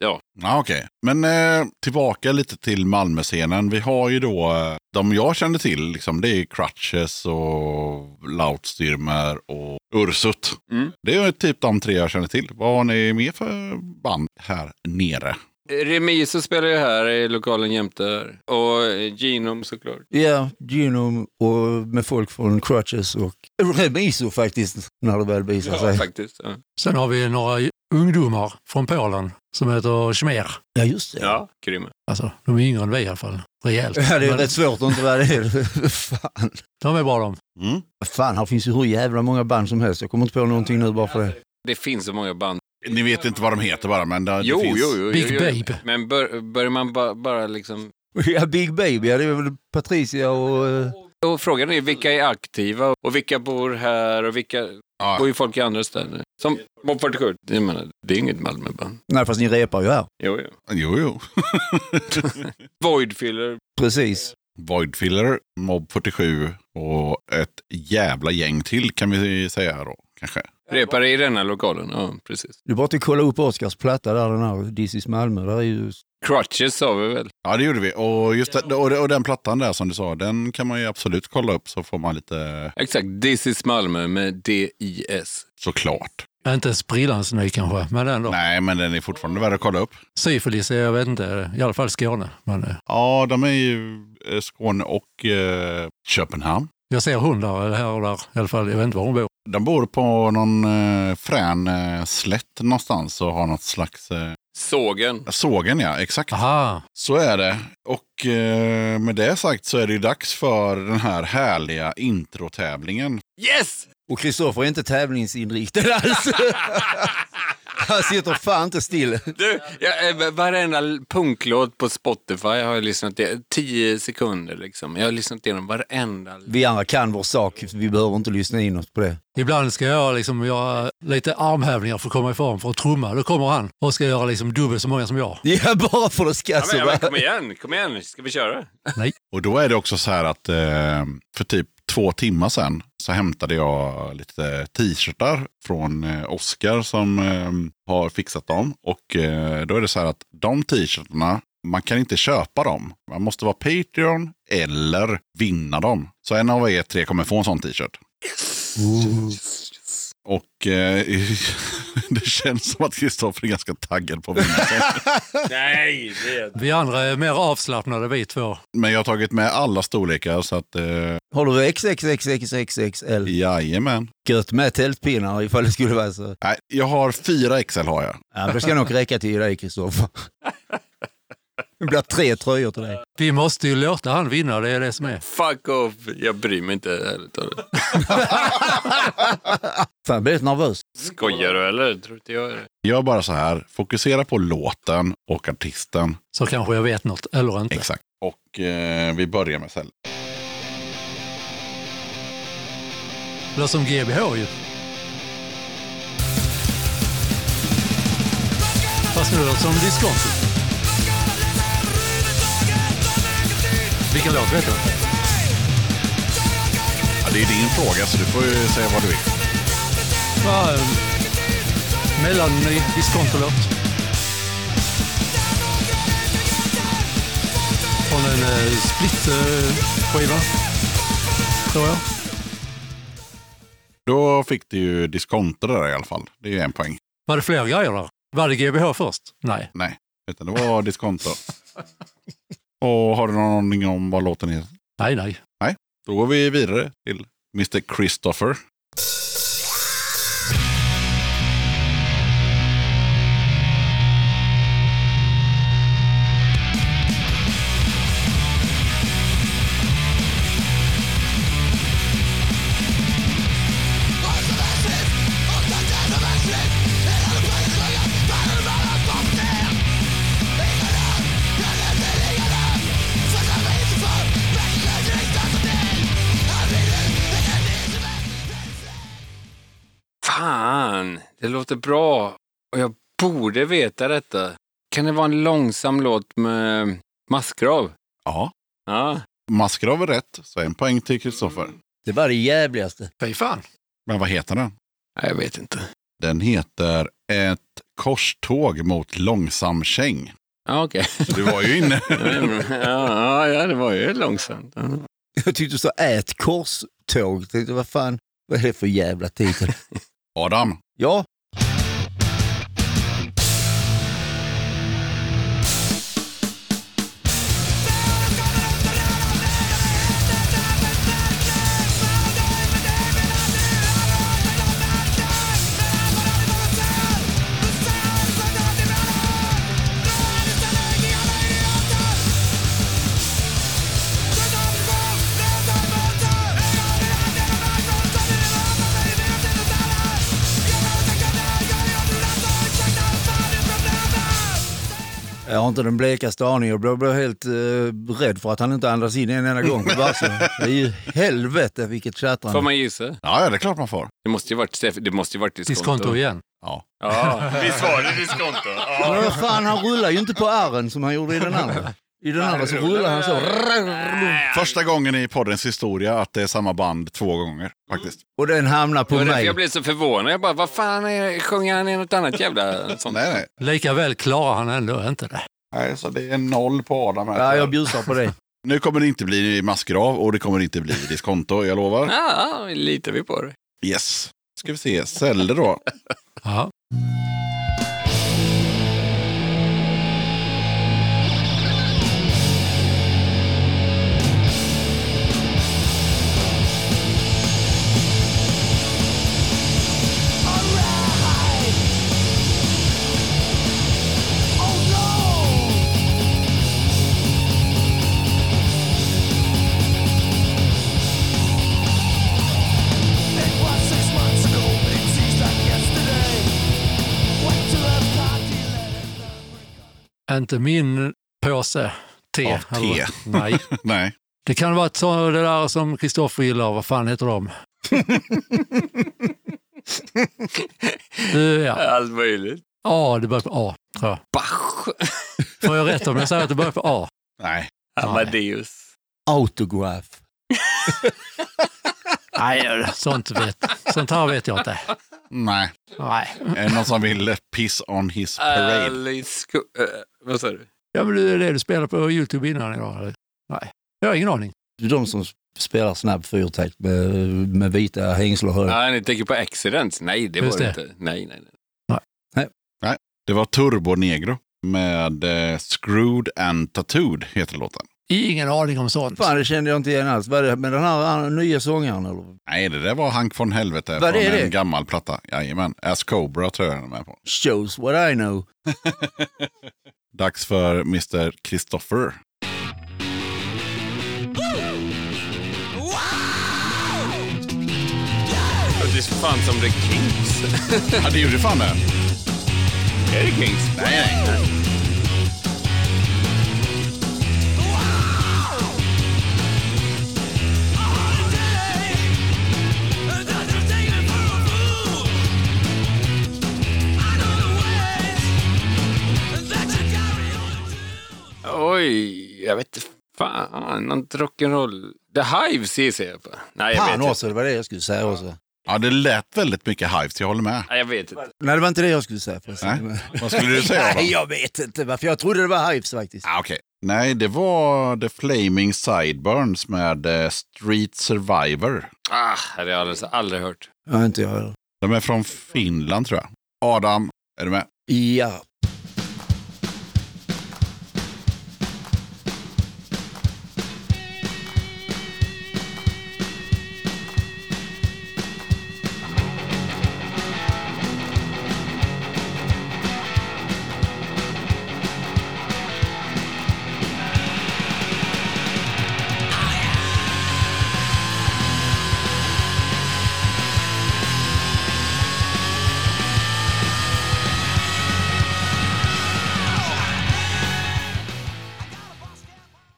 Ja, okej. Men eh, tillbaka lite till Malmöscenen. Vi har ju då, eh, de jag känner till, liksom, det är Crutches och Lautstürmer och Ursut.
Mm.
Det är ju typ de tre jag känner till. Vad har ni mer för band här nere?
Remiso spelar ju här i lokalen jämte här. Och eh, Genom såklart.
Ja, Genome och med folk från Crutches och Remiso faktiskt, när det väl visar
Ja,
sig.
faktiskt. Ja.
Sen har vi några ungdomar från Polen som heter Schmer.
Ja, just det.
ja. Grymma.
Alltså, de är yngre än vi i alla fall. Rejält.
Ja, det är
Men
rätt svårt att inte vara det. *laughs* Fan.
De är bra de.
Mm.
Fan, här finns ju hur jävla många band som helst. Jag kommer inte på någonting nu bara för det.
Det finns så många band.
Ni vet inte vad de heter bara, men det,
Jo,
det
jo,
finns.
jo, jo.
Big
jo.
Babe.
Men bör, börjar man ba, bara liksom...
Ja, Big Baby, ja, det är väl Patricia och... eh,
Och frågan är vilka är aktiva och vilka bor här och vilka
Ja.
bor ju folk i andra städer. Som Mob 47. Jag menar, det är inget Malmöband.
Nej, fast ni repar ju här.
Jo, jo.
jo, jo. *laughs*
Voidfiller.
Precis.
Voidfiller, Mob 47 och ett jävla gäng till kan vi säga då, kanske.
Repar i denna lokalen. Ja, precis.
Du bara att kolla upp Oscars platta där, den här This is Malmö. Där är ju...
Crutches sa vi väl?
Ja, det gjorde vi. Och, just det, och, och den plattan där som du sa, den kan man ju absolut kolla upp så får man lite,
Exakt. This is Malmö med D-I-S.
såklart.
Inte sprillans ny kanske, men ändå.
Nej, men den är fortfarande värd att kolla upp.
Syfilis är, jag vet inte, i alla fall Skåne. Men, eh,
Ja, de är ju eh, Skåne och eh, Köpenhamn.
Jag ser hundar eller här och där i alla fall. Jag vet inte var hon bor.
De bor på någon eh, frän eh, slätt någonstans och har något slags... Eh,
Sågen.
sågen ja, exakt.
Aha,
Så är det. Och eh, med det sagt så är det ju dags för den här härliga introtävlingen.
Yes!
Och Kristoffer är inte tävlingsinriktad
*laughs*
alls. Han sitter fan inte still.
Du, jag, eh, varenda punklåt på Spotify har jag lyssnat till. Tio sekunder liksom. Jag har lyssnat igenom varenda.
Vi andra kan vår sak, vi behöver inte lyssna inåt på det. *laughs*
ibland ska jag liksom göra lite armhävningar för att komma i form för att trumma. Då kommer han och ska göra liksom dubbelt så många som jag.
Ja, bara för att
Ja, men,
skassa.
ja, men, kom
va?
igen, kom igen. Ska vi köra?
Och då är det också så här att eh, för typ två timmar sedan så hämtade jag lite t-shirtar från eh, Oscar som eh, har fixat dem. Och eh, då är det så här att de t-shirtarna, man kan inte köpa dem. Man måste vara Patreon eller vinna dem. Så en av er tre kommer få en sån t-shirt. Och eh, *laughs* det känns som att Kristoffer är ganska taggad på att vinna.
Nej, det...
Vi andra är mer avslappnade vi två.
Men jag har tagit med alla storlekar så att eh,
Har du XXXXXXL?
jajamän.
Gött med tältpinnar ifall det skulle vara så.
Nej, jag har fyra XL har jag.
Ja, men det ska nog räcka till dig
*laughs*
Kristoffer. Det blir tre tröjor till dig.
Vi måste ju låta han vinna, det är det som är.
Fuck off. Jag bryr mig inte. ärligt talat.
Fan, jag blir lite nervös.
Skojar du eller? Tror inte jag är det.
Gör bara så här, fokusera på låten och artisten.
Så kanske jag vet något, eller inte.
Exakt. Och eh, vi börjar med Sell.
Eller som GBH ju. Fast nu låter det som diskonto. Vilken låt vet du?
Ja, det är din fråga så du får ju säga vad du vill.
Ja, eh, en mellanny diskontolåt. Från en eh, split-skiva, tror jag.
Då fick du ju diskonto där i alla fall. Det är ju en poäng.
Var det fler grejer där? Var det GBH först? Nej.
Utan det var *laughs* diskonto. och har du någon aning om vad låten heter?
Nej, nej.
Då går vi vidare till Mr. Christopher.
Fan, det låter bra. Och jag borde veta detta. Kan det vara en långsam låt med masskrav?
Ja.
Ja.
Maskrav är rätt, så en poäng till Kristoffer.
Det var det jävligaste.
Fy fan.
Men vad heter den?
Nej, jag vet inte.
Den heter Ett korståg mot långsam käng.
Ja, *laughs* okej.
Så du var ju inne.
ja, ja, det var ju långsamt. Ja.
Jag tyckte du sa ät korståg. Jag Tänkte, vad fan, vad är det för jävla titel? *laughs*
Adam,
Ja, jag har inte den blekaste aning. Jag blev- blev helt eh, rädd för att han inte andas in en enda gång på versen. Det är ju helvete vilket
Får
tjattrande.
man gissa?
Ja, ja, det är klart man får.
Det måste ju varit, det måste ju varit diskonto.
Diskonto igen.
*laughs* Ja, visst var det diskonto? Ja.
Men vad fan, han rullar ju inte på arren som han gjorde i den andra. I den andra så rullar han så.
Första gången i poddens historia att det är samma band två gånger faktiskt.
Och den hamnar
Det
på
var därför
mig.
jag blev så förvånad. Jag bara, vad fan är, sjunger han i något annat jävla sånt?
Mm. Nej, nej.
Likaväl klarar han ändå inte det.
nej så det är noll på Adam. Här.
Ja, jag bjussar på det.
Nu kommer det inte bli massgrav och det kommer inte bli diskonto, jag lovar.
Ja, ja, litar vi på det.
Yes. Ska vi se, Selle då.
Ja. inte min påse te.
Av
eller-
te. *laughs*
Nej.
*laughs* Nej.
Det kan vara ett så, det där som Kristoffer gillar, vad fan
*laughs*
heter de? Eh, ja.
Allt möjligt.
A, det börjar på A, tror jag.
Bach!
Får jag rätt om jag säger att det börjar på A?
Nej.
Amadeus.
Autograf.
Nej, sånt, vet, sånt här vet jag inte.
Nej.
Nej.
Är det någon som vill eh, piss on his
Äh.
parade?
Alice Coo- eh, Vad sa du?
Ja, men det är det du spelade på YouTube innan idag? eller? Nej, jag har ingen aning.
Det är de som spelar snabb fyrtakt med, med vita hängslen. hör jag.
Nej, ni tänker på Accidents? Nej, det
Just
var det
det.
inte. Nej, nej, nej.
Det var Turbo Negro med eh, Screwed and Tattooed heter låten.
Ingen aning om sånt.
Fan, det kände jag inte igen alls. Vad är det med den här an- nya sångaren? Eller?
Nej, det där var Hank von Helvete
Vad
från
är det?
en gammal platta. Jajamän. As Cobra tror jag den är med på.
Shows what I know.
Dags för Mr. Christopher.
Det är fan som The Kings.
Ja, det gjorde fan det.
Är det Kings?
Nej, nej.
Oj, jag vet inte. Fan, någon rock'n'roll. The Hives gissar jag på. Nej, jag
Fan
vet
också, det var det jag skulle säga också.
Ja, det lät väldigt mycket Hives, jag håller med.
inte. Nej, jag vet inte.
Nej, det var inte det jag skulle säga. förresten.
Nej. Vad skulle du
*laughs*
säga? Adam?
Nej, jag vet inte varför. Jag trodde det var Hives faktiskt.
Ah, okej. Nej, det var The Flaming Sideburns med eh, Street Survivor.
Ah, det har jag alldeles, aldrig hört.
Ja, inte jag heller.
De är från Finland tror jag. Adam, är du med?
Ja.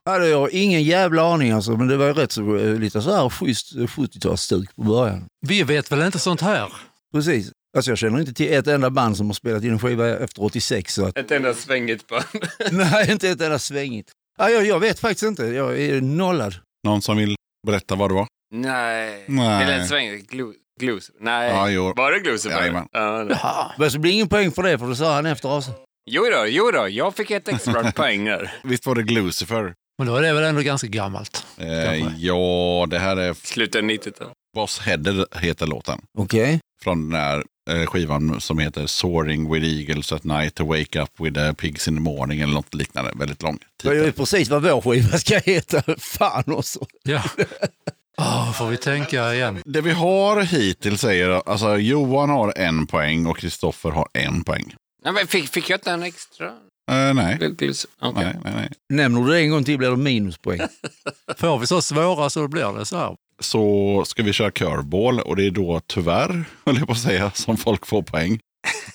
Hade jag ingen jävla aning alltså, men det var ju rätt så eh, lite så här schysst eh, 70-talsstuk på början.
Vi vet väl inte sånt här?
Precis. Alltså jag känner inte till ett enda band som har spelat in en skiva efter 86. Så att, *laughs*
Ett enda svängigt band. *laughs*
nej, inte ett enda svängigt. Ja, jag, jag vet faktiskt inte. Jag är nollad.
Någon som vill berätta vad det var?
Nej.
Nej.
Eller ett svängigt. Glu- Glus. Nej.
Ja, jo.
Var det Gluseberg?
Jajamän.
Ja, nej.
Ja.
Men så blir det ingen poäng för det, för det sa han efter oss.
jo då, jo då, jag fick ett extra poäng där.
Visst var det Glucifer?
Men då är det väl ändå ganska gammalt.
Eh, ja, det här är
Slutet 90-talet.
Boss Header heter låten.
Okej.
Från den här eh, skivan som heter Soaring with Eagles at Night to Wake Up with the Pigs in the Morning eller något liknande. Väldigt lång
Det var
titel.
ju precis vad vår skiva ska heta. *laughs* Fan också.
Ja. *laughs* Åh, får vi tänka igen?
Det vi har hittills säger, alltså Johan har en poäng och Kristoffer har en poäng.
Nej, men fick, fick jag inte en extra?
Eh, nej.
Glus. Okej.
nej, nej, nej.
Nämner du det en gång till blir det minuspoäng.
Får vi så svåra så blir det så här.
Så ska vi köra curveball och det är då tyvärr, *laughs* höll jag på att säga, som folk får poäng.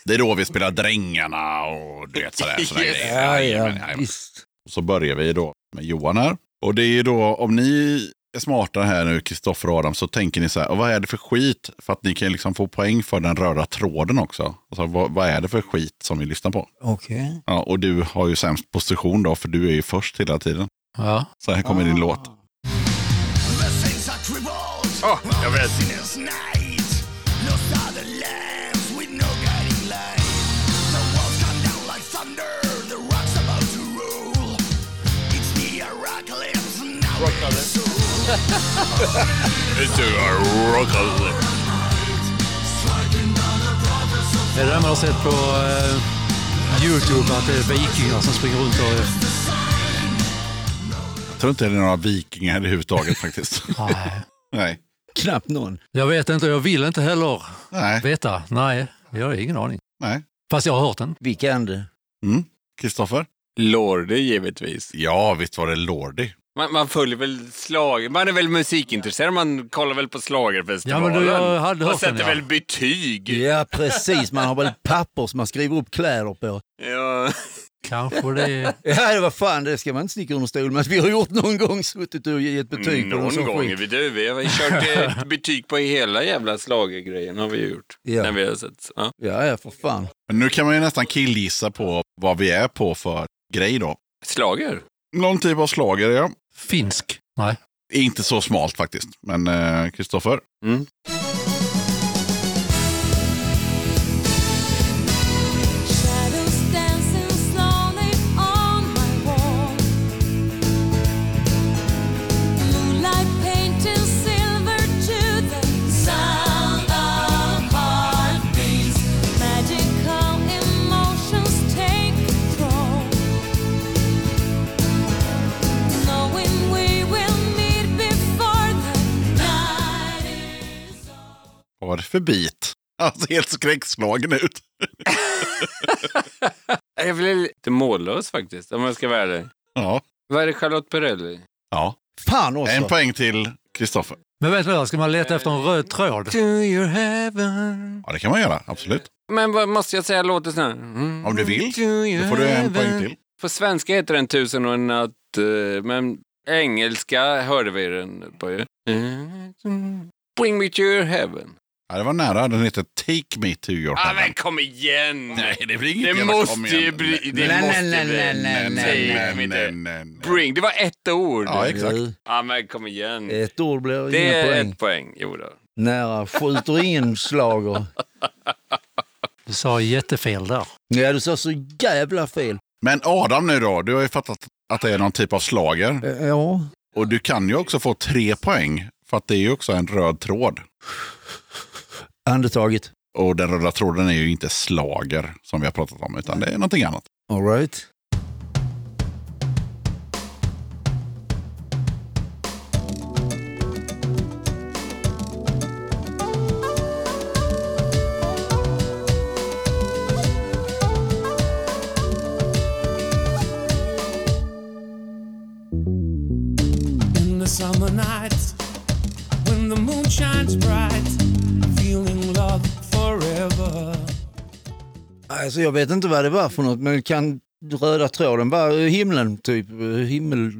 Det är då vi spelar drängarna och du vet sådär. sådär
*laughs* Yes.
grejer. Jajamän, jajamän.
Visst.
Så börjar vi då med Johan här. Och det är ju då, om ni är smarta här nu, Kristoffer och Adam, så tänker ni så här, vad är det för skit? För att ni kan ju liksom få poäng för den röda tråden också. Alltså, vad, vad är det för skit som vi lyssnar på?
Okej.
Ja, och du har ju sämst position då, för du är ju först hela tiden.
Ja.
Så här kommer
Ah.
din låt.
Åh, Ah, jag vet.
Det är det man har sett på eh, YouTube, att det är vikingar som springer runt och...
Jag tror inte det är några vikingar överhuvudtaget faktiskt.
*laughs*
Nej.
Nej.
Knappt någon.
Jag vet inte, jag vill inte heller
Nej.
veta. Nej, jag har ingen aning.
Nej.
Fast jag har hört den.
Vi kan det.
Kristoffer?
Lorde givetvis.
Ja, visst var det Lordi.
Man, man följer väl slag... Man är väl musikintresserad, man kollar väl på schlagerfestivalen.
Ja, men du, jag hade
man
hört den,
sätter
ja.
väl betyg.
Ja, precis. Man har väl papper som man skriver upp kläder på.
Ja.
Kanske det.
Ja, det var fan, det ska man inte sticka under stol med att vi har gjort någon gång, suttit och gett betyg på någon
Någon
sån
gång.
skit.
Vi, du, vi har kört ett betyg på hela jävla slagergrejen har vi gjort.
Ja.
När vi har sett. Ja.
Ja, ja, för fan.
Men nu kan man ju nästan killgissa på vad vi är på för grej då.
Slager?
Någon typ av slager, ja.
Finsk? Nej.
Inte så smalt faktiskt. Men eh, Kristoffer,
Mm.
Shadows dancing slowly on my wall. Moonlight painting silver to the sound of heartbeats. Magical emotions take control. Knowing we will meet before the night is over.
vad var det för bit? *laughs* Alltså helt skräckslagen ut.
Jag blir lite mållös faktiskt, om jag ska vara ärlig.
Ja.
Vad är det Charlotte Perrelli?
ja.
Fan också!
En poäng till Kristoffer.
Men vet du vad, ska man leta efter en röd tråd?
To your heaven.
Ja, det kan man göra. Absolut.
Men vad måste jag säga låten sån här? Mm.
Om du vill.
To your
Då får du en
heaven.
poäng till.
På svenska heter den Tusen och en natt, eh, men engelska hörde vi den på ju. Mm. Bring me to your heaven.
Ja, det var nära. Den heter Take Me To Your
Ah, men
Heaven.
kom igen!
Nej, det blir inget
Det
jävla kom
måste
igen.
ju bli... Det
Nej,
måste
nej, nej,
bli.
nej,
Take
nej,
me
nej, nej,
to-
nej, nej.
Bring, det var ett ord.
Ja, exakt.
ah, men kom igen.
Ett ord blir
Det
inga
är
poäng.
ett poäng. Jo då.
Nära skjuter in slager.
Du sa jättefel där.
Ja, du sa så jävla fel.
Men Adam nu då, du har ju fattat att det är någon typ av slager.
Ja.
Och du kan ju också få tre poäng. För att det är ju också en röd tråd.
Andetaget.
Och den röda tråden är ju inte slager som vi har pratat om, utan det är någonting annat.
All right.
In the summer nights, when the moon shines bright, feeling love forever.
Alltså, jag vet inte vad det var för något, men kan röda tråden vara himlen, typ? Himmel,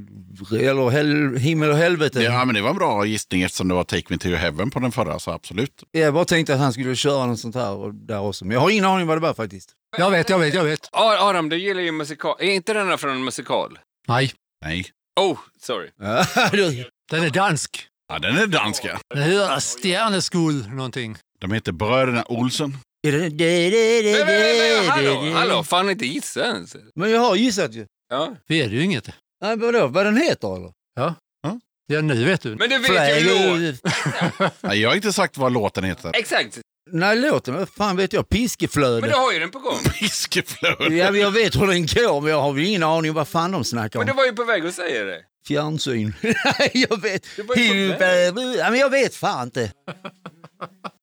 eller hel, himmel och helvete.
Ja, men det var en bra gissning eftersom det var Take Me To Your Heaven på den förra, så absolut.
Jag bara tänkte att han skulle köra något sånt här och där också, men jag har ingen aning vad det var faktiskt.
Jag vet, jag vet, jag vet.
Ar- Adam, du gillar ju musikal. Är inte den här från en musikal?
Nej,
Nej.
Oh, sorry.
Ja, du-
den är dansk.
Ja, den är danska.
Den heter Stjärneskuld någonting.
De heter Bröderna Olsen.
Men, men, men, men, Hallå, hallå, fan inte gissa ens.
Men jag har gissat ju.
Ja.
Vi är det ju inget.
Nej, vadå, vad den heter eller?
Ja, nu vet du.
Men du vet ju hur låt.
Flag,
Nej, jag har inte sagt vad låten heter.
Exakt,
nej, låten, vad fan vet jag?
men
Piskeflöde.
du har ju den på gång.
Fiskeflöde.
Ja, men jag vet hur den går, men jag har ju ingen aning vad fan de snackar
Men
om.
du var ju på väg att säga det.
Fjärrsyn. *laughs* Nej, jag vet.
Du var ju på
Hur- Ja, men jag vet fan inte.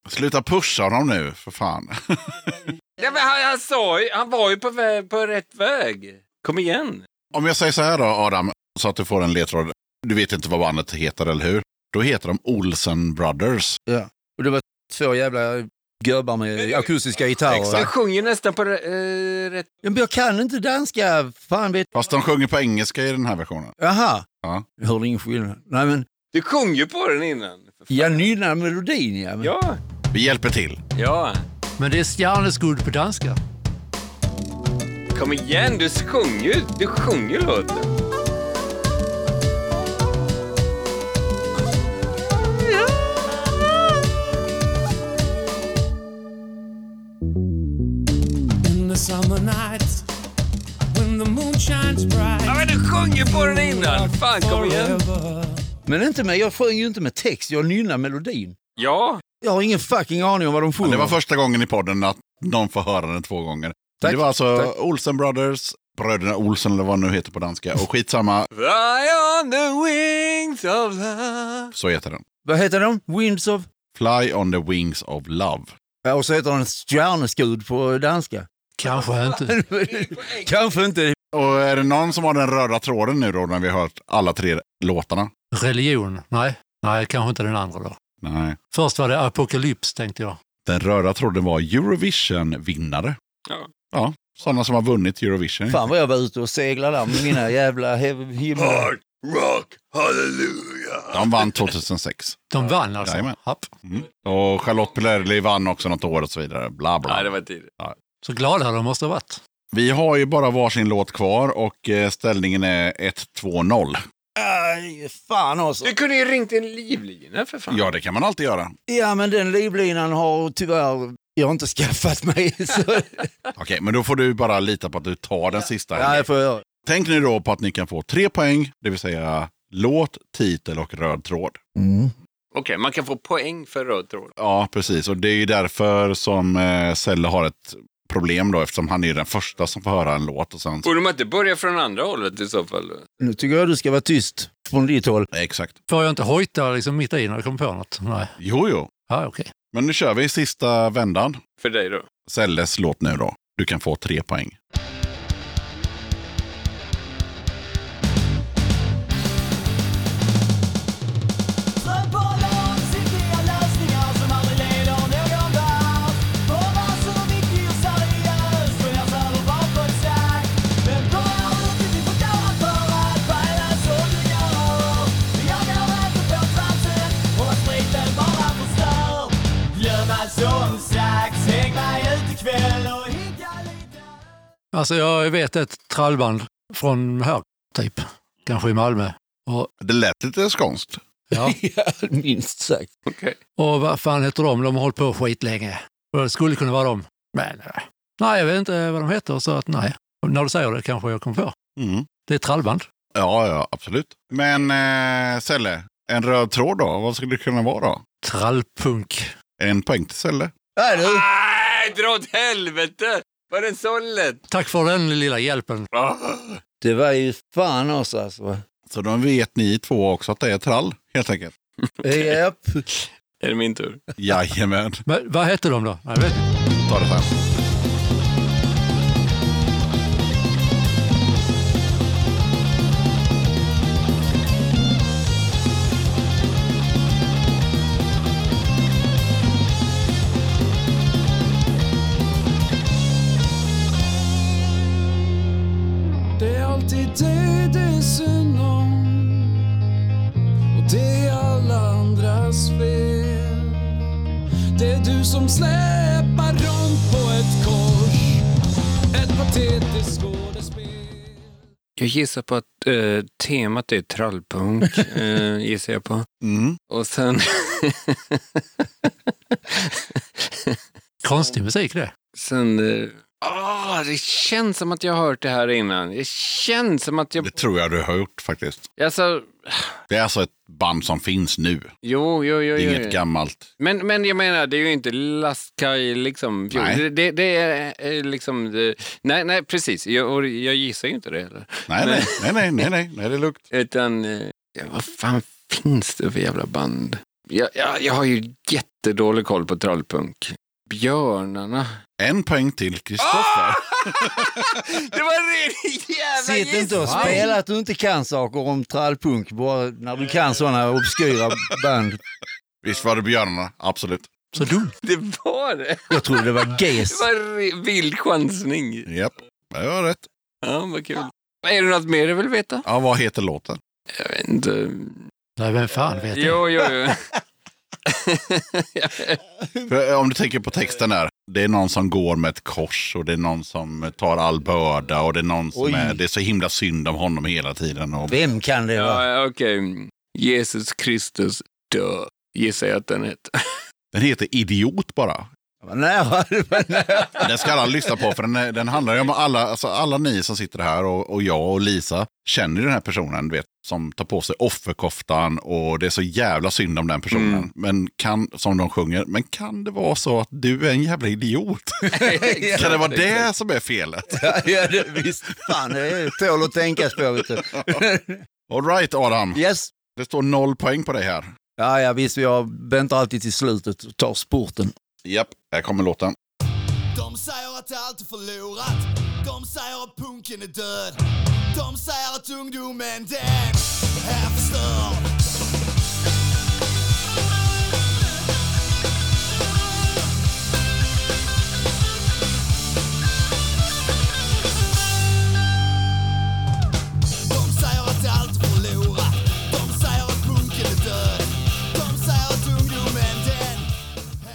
Sluta pusha dem nu, för fan.
Ja, men han, han sa ju, han var ju på, väg, på rätt väg. Kom igen.
Om jag säger så här då, Adam, så att du får en ledtråd. Du vet inte vad bandet heter, eller hur? Då heter de Olsen Brothers.
Och det var två jävla gubbar med akustiska gitarrer.
Han
Exakt.
sjunger ju nästan på eh, rätt...
Ja, men jag kan inte danska. Fan vet...
Fast de sjunger på engelska i den här versionen.
Jaha.
Ja.
Jag hörde ingen skillnad. Nej, men
Du sjunger ju på den innan. för fan.
jag nynnar melodin, ja. Men...
Ja.
Vi hjälper till.
Ja.
Men det är Stjärneskuld på danska.
Kom igen, du sjunger ju. Du sjunger ju låten.
In the summer nights, when the moon shines bright.
Ja, men du sjunger ju på den innan. Fan, kom igen.
forever.
Men inte med, jag sjöng ju inte med text, jag nynnar melodin.
Ja.
Jag har ingen fucking aning om vad de
Men
sjunger.
Det var första gången i podden att någon får höra den två gånger.
Tack.
Det var alltså
Tack.
Olsen Brothers, Bröderna Olsen eller vad det nu heter på danska. Och skitsamma,
Fly on the wings of love.
så heter den.
Vad heter de? Winds of...
Fly on the wings of love.
Ja, och så heter den Stjärneskud på danska.
Kanske inte.
Kanske inte.
Och är det någon som har den röda tråden nu då när vi har hört alla tre låtarna?
Religion? Nej. Nej, kanske inte den andra då.
Nej.
Först var det apokalyps tänkte jag.
Den röda tråden var Eurovision-vinnare.
Ja.
Ja, sådana som har vunnit Eurovision.
Fan vad jag var ute och seglade där med mina jävla hev- himla...
rock, hallelujah! De vann 2006.
De vann alltså?
Jajamän.
Japp.
Mm. Och Charlotte Perrelli vann också något år och så vidare. Bla, bla.
Nej, det var tidigt.
Så glada de måste ha varit.
Vi har ju bara varsin låt kvar och eh, ställningen är 1-2-0.
Aj, fan alltså.
Du kunde ju ringt en livlina för fan.
Ja, det kan man alltid göra.
Ja men den livlinan har tyvärr jag inte skaffat mig. *laughs* Så...
Okej, men då får du bara lita på att du tar den sista.
Ja,
här.
jag får göra.
Tänk nu då på att ni kan få tre poäng, det vill säga låt, titel och röd tråd.
Mm.
Okej, man kan få poäng för röd tråd.
Ja, precis. Och det är ju därför som eh, Selle har ett problem då, eftersom han är ju den första som får höra en låt. Och sen...
Borde man inte börja från andra hållet i så fall?
Nu tycker jag du ska vara tyst från ditt håll.
Exakt.
Får jag inte hojta liksom mitt i när jag kommer på något? Nej.
Jo, jo.
Ja, okej.
Men nu kör vi sista vändan.
För dig då?
Selles låt nu då. Du kan få tre poäng.
För på långsiktiga lösningar som aldrig leder någon vart Och vad som inte är seriöst och jag söver bakom stack Men då har du inte blivit förklarad för att stjäla som du gör Jag går efter på tramset och spriten bara förstör Glöm allt som sagts, häng mig ut ikväll och hitta lite
Alltså jag vet ett trallband från här, typ. Kanske i Malmö. Och,
Det lät lite skånskt.
*laughs*
ja.
Ja, minst sagt.
Okej.
och vad fan heter de? De har hållit på skitlänge. Och det skulle kunna vara dem. Men nej. nej, jag vet inte vad de heter så att nej. Och När du säger det kanske jag kommer på.
Mm.
Det är ett trallband.
Ja, ja, absolut. Men eh, Selle, en röd tråd då? Vad skulle det kunna vara då?
Trallpunk.
En poäng till Selle.
Nej du,
Ah! Nej, dra åt helvete! Var den så lätt?
Tack för den lilla hjälpen.
det var ju fan oss alltså.
Så då vet ni två också att det är trall, helt enkelt.
Japp.
Är det min tur?
Jajamän.
Men vad hette de då? Jag vet inte.
Ta det sen.
Det är alltid dig det är synd om Och det är alla andras fel Det är du som släpar runt på ett kors Ett patetiskt skådespel
Jag gissar på att eh, temat är
*laughs*
trallpunk, eh, gissar jag på.
Mm.
Och sen... *laughs*
Konstig musik det.
sen eh, ah, det känns som att jag har hört det här innan. Det känns som att jag...
Det tror jag du har gjort faktiskt.
Alltså,
Det är alltså ett band som finns nu.
jo, jo, jo.
Det är
jo.
inget gammalt.
Men, men jag menar, det är ju inte Lastkaj liksom.
Nej.
Det, det, det är eh, liksom... eh, nej, nej, precis. Jag, och jag gissar ju inte det heller.
Nej, nej, nej, nej, nej, nej, nej det är lugnt.
Utan, eh, ja, vad fan finns det för jävla band? Jag, jag, jag har ju jättedålig koll på trallpunk. Björnarna.
En poäng till
Ah!
Kristoffer.
*laughs* Det var en redig jävla
Sitt inte och
gissning.
spela att du inte kan saker om trallpunk bara när du kan sådana obskyra band.
Visst var det Björnarna? Absolut.
Så dumt.
Det var det.
Jag trodde det var
Det
GES.
var en re- vild chansning.
Japp, det var rätt.
Ja, vad kul. Är det något mer du vill veta?
Ja, vad heter låten?
Jag vet inte.
Nej, vem fan vet det?
Jo, jo, jo.
För eh, om du tänker på texten där. Det är någon som går med ett kors och det är någon som tar all börda och det är någon som
Oj.
är... Det är så himla synd om honom hela tiden. Och...
Vem kan det vara?
*laughs* ja, Okej. Jesus Kristus dö, gissar jag att den heter. *laughs*
Den heter Idiot bara.
Det var nära, det var nära.
Den ska alla lyssna på för den, är- den handlar ju om alla, alltså alla ni som sitter här och, och jag och Lisa känner ju den här personen du vet, som tar på sig offerkoftan och det är så jävla synd om den personen.
Mm.
Men kan, som de sjunger, men kan det vara så att du är en jävla *laughs* idiot?
*laughs*
kan det vara det som är felet?
Ja, det, visst. Fan, det tål att tänkas på. Vet du.
All right Adam,
Yes.
det står noll poäng på dig här.
Ja, ja, visst, jag väntar alltid till slutet och tar spurten.
Japp, här kommer låten.
De säger att allt är förlorat De säger att punken är död De säger att ungdomen den är förstörd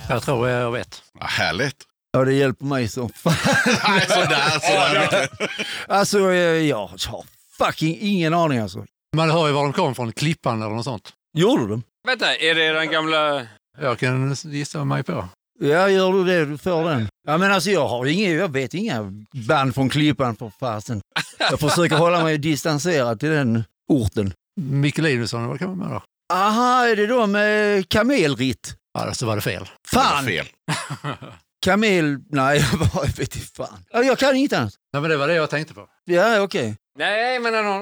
Jag tror jag vet.
Ja, *laughs* härligt.
Ja, det hjälper mig så fan. *laughs*
Nej, *laughs* sådär, sådär.
Alltså, eh, jag har fucking ingen aning alltså.
Man hör ju var de kom från, Klippan eller något sånt.
Gjorde du dem?
Vänta, är det den gamla...
Jag kan gissa mig på.
Ja, gör du det, du får den. Ja, men alltså jag har inga, jag vet inga band från Klippan för fasen. Jag försöker hålla mig distanserad till den orten.
Mikkelinsson, vad kan man med då?
Aha, är det då med kamelritt?
Ja, så var det fel.
Fan!
Fel.
Kamel... Nej, *laughs* jag vet inte fan. Ja, jag kan inget annat.
Nej, men det var det jag tänkte på.
Ja, okej.
Nej, men den har...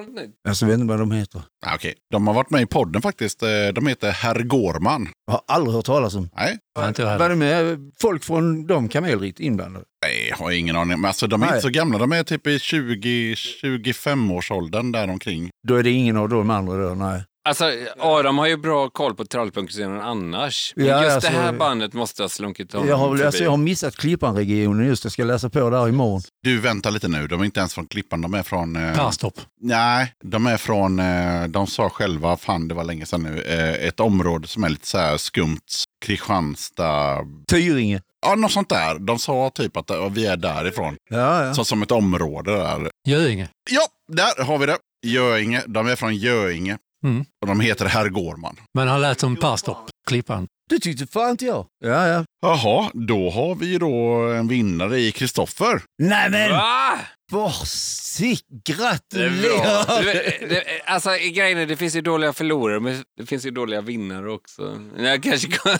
Alltså, jag vet inte vad de heter.
Ja, okej. De har varit med i podden faktiskt. Eh, De heter Herr Gårman.
Jag har aldrig hört talas om.
Nej,
Ja, inte jag
Var
heller.
det med folk från de kamelritt inblandade?
nej har jag ingen aning. Men alltså, de är
Nej.
inte så gamla. De är typ i 20-25-årsåldern däromkring.
Då är det ingen av de andra då, nej.
Alltså, Adam har ju bra koll på trallpunkscenen annars. Men
Ja,
just
alltså-
det här bandet måste ha slunkit honom
Jag har, väl- alltså,
förbi.
jag har missat Klippan-regionen just, jag ska läsa på där imorgon.
Du, vänta lite nu. De är inte ens från Klippan. De är från... eh,
Perstorp.
Nej, de är från... eh, De sa själva, fan det var länge sedan nu, eh, ett område som är lite så här skumt. Kristianstad...
Tyringe.
Ja, något sånt där. De sa typ att eh, vi är därifrån.
Ja, ja.
Så, som ett område där.
Göinge.
Ja, där har vi det. Göinge. De är från Göinge.
Mm.
Och de heter Herr Gårman.
Men han lät som Perstorp, Klippan.
Det tyckte fan inte jag. Ja, ja.
Jaha, då har vi då en vinnare i Kristoffer.
Nej men!
Va?
Vad sick!
Det är bra.
Gratulerar!
Du, det, alltså, grejen är, det finns ju dåliga förlorare, men det finns ju dåliga vinnare också. Jag kanske kan...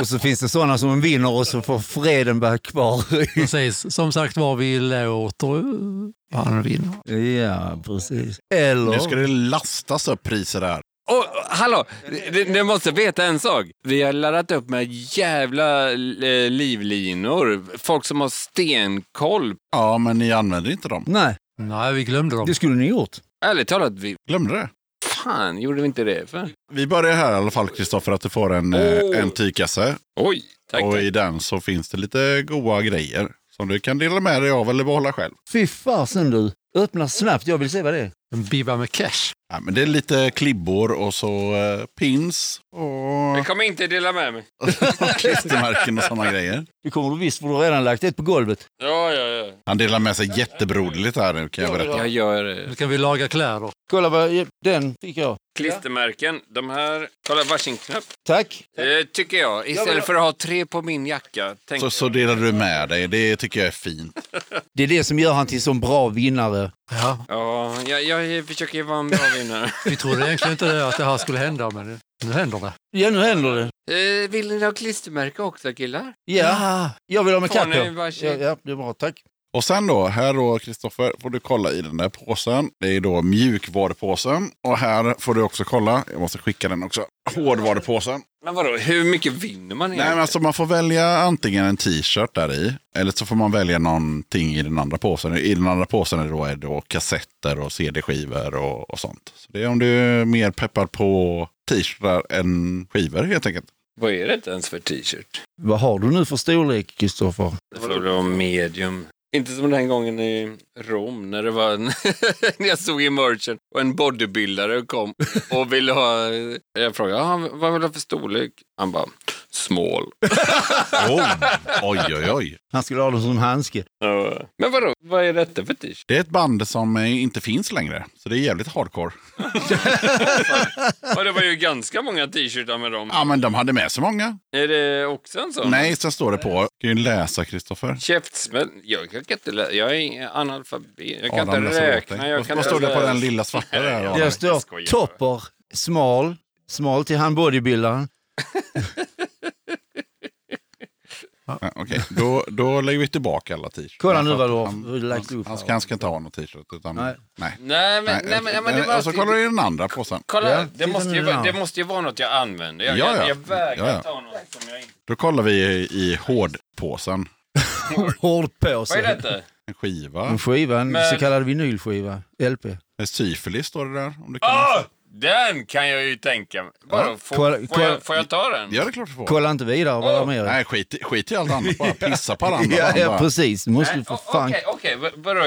Och så finns det sådana som vinner och så får freden vara kvar.
Precis. Som sagt var, vi låter han vinna.
ja, precis. Eller...
Nu ska det lastas upp priser här.
Oh, hallå! Du, du måste veta en sak. Vi har laddat upp med jävla eh, livlinor. Folk som har stenkoll.
Ja, men ni använder inte dem.
Nej,
Nej, vi glömde dem.
det skulle ni gjort.
Ärligt talat, vi,
Glömde det.
fan gjorde vi inte det för?
Vi börjar här i alla fall Kristoffer att du får en,
Oh.
oh. en tygkasse.
Oj, tack.
Och
tack.
i den så finns det lite goa grejer. Som du kan dela med dig av eller behålla själv.
Fy fasen du. Öppna snabbt, jag vill se vad det är.
En bibba med cash.
Ja, men det är lite klibbor och så eh, pins
Jag
och
kommer inte dela med mig.
*laughs* klistermärken och sådana grejer.
Det kommer du visst, för du har redan lagt ett på golvet.
Ja, ja, ja.
Han delar med sig jättebroderligt här nu kan jag berätta.
Jag gör
Nu
det.
kan vi laga kläder.
Kolla vad... Den fick jag.
Klistermärken, de här. Kolla, varsin knapp.
Tack!
Eh, tycker jag. Istället för att ha tre på min jacka. Tänk.
Så, så delar du med dig, det tycker jag är fint.
Det är det som gör han till sån bra vinnare.
Ja,
Ja, jag, jag försöker vara en bra vinnare.
vi trodde egentligen inte det, att det här skulle hända, men nu händer det.
Ja, nu händer det.
eh, vill ni ha klistermärke också, killar?
Ja, jag vill ha med
Får
katt
ni
på. Ja,
varsin?
ja, det är bra. Tack.
Och sen då, här då Kristoffer, får du kolla i den där påsen. Det är då mjukvarupåsen. Och här får du också kolla, jag måste skicka den också, hårdvarupåsen.
Men vadå, hur mycket vinner man
Nej men alltså man får välja antingen en t-shirt där i. Eller så får man välja någonting i den andra påsen. I den andra påsen är det då, är det då kassetter och cd-skivor och, och sånt. Så det är om du är mer peppad på t-shirtar än skivor helt enkelt. *laughs*
Vad är det ens för t-shirt?
Vad har du nu för storlek, Kristoffer?
Det får väl vara medium. Inte som den gången i Rom när det var *laughs* en när jag stod i merchen och en bodybuildare kom och ville ha... Jag frågade, ah, vad vill du ha för storlek? Han bara, small.
Oh, oj, oj, oj.
Han skulle ha den som handske.
Ja. Men vadå, vad är detta för t-shirt?
Det är ett band som eh, inte finns längre. Så det är jävligt hardcore.
Ja, det var ju ganska många t-shirtar med dem.
Ja, men de hade med sig många.
Är det också en sån?
Nej, sen står det på. Du kan ju läsa, Kristoffer.
Käftsmäll? Jag, jag kan inte lä- Jag är ingen analfabet. Jag kan
Adam
inte
läser åt
räkna.
dig.
Jag
Vad-
kan
Vad
inte
står det på
läsa.
den lilla svarta där?
Ja,
Där
Adam?
jag
står
skojar.
topper, smal, smal till han bodybuildaren.
Ja, Okej, då, då lägger vi tillbaka alla t-shirts.
Kolla nu vad du
Han-
har lagt upp.
Han
här.
ska, han ska inte ha någon t-shirt. Utan,
Nej.
nej. Nej. eh,
Nej, men, nej, men, nej, men det var
och så
alltid...
kollar du i den andra påsen.
Kolla,
Ja,
det,
titta
måste
nu
ju,
där.
vara- det
*laughs*
måste ju vara något jag använder. Jag,
Ja,
jag,
ja.
jag vägrar
Ja, ja.
ta något som jag inte...
Då kollar vi i, i hårdpåsen.
Vad är
Hårdpåse.
detta?
En skiva. Eh,
En skiva, en
Men-
så kallad vinylskiva. LP.
Syfilis står det där. Om du kan
Åh!
läsa.
Den kan jag ju tänka mig. Vadå, får,
kolla-
får,
kolla-
jag, får jag ta den?
Ja, det är klart du får.
Kolla inte vidare vad
Åh.
de är.
Nej, skit, i- skit i allt annat.
*laughs*
Bara pissa på varandra.
Ja, ja,
varandra.
precis. Du måste
Nej,
ju för
o-
fan...
Okej, okej. V- Vadå,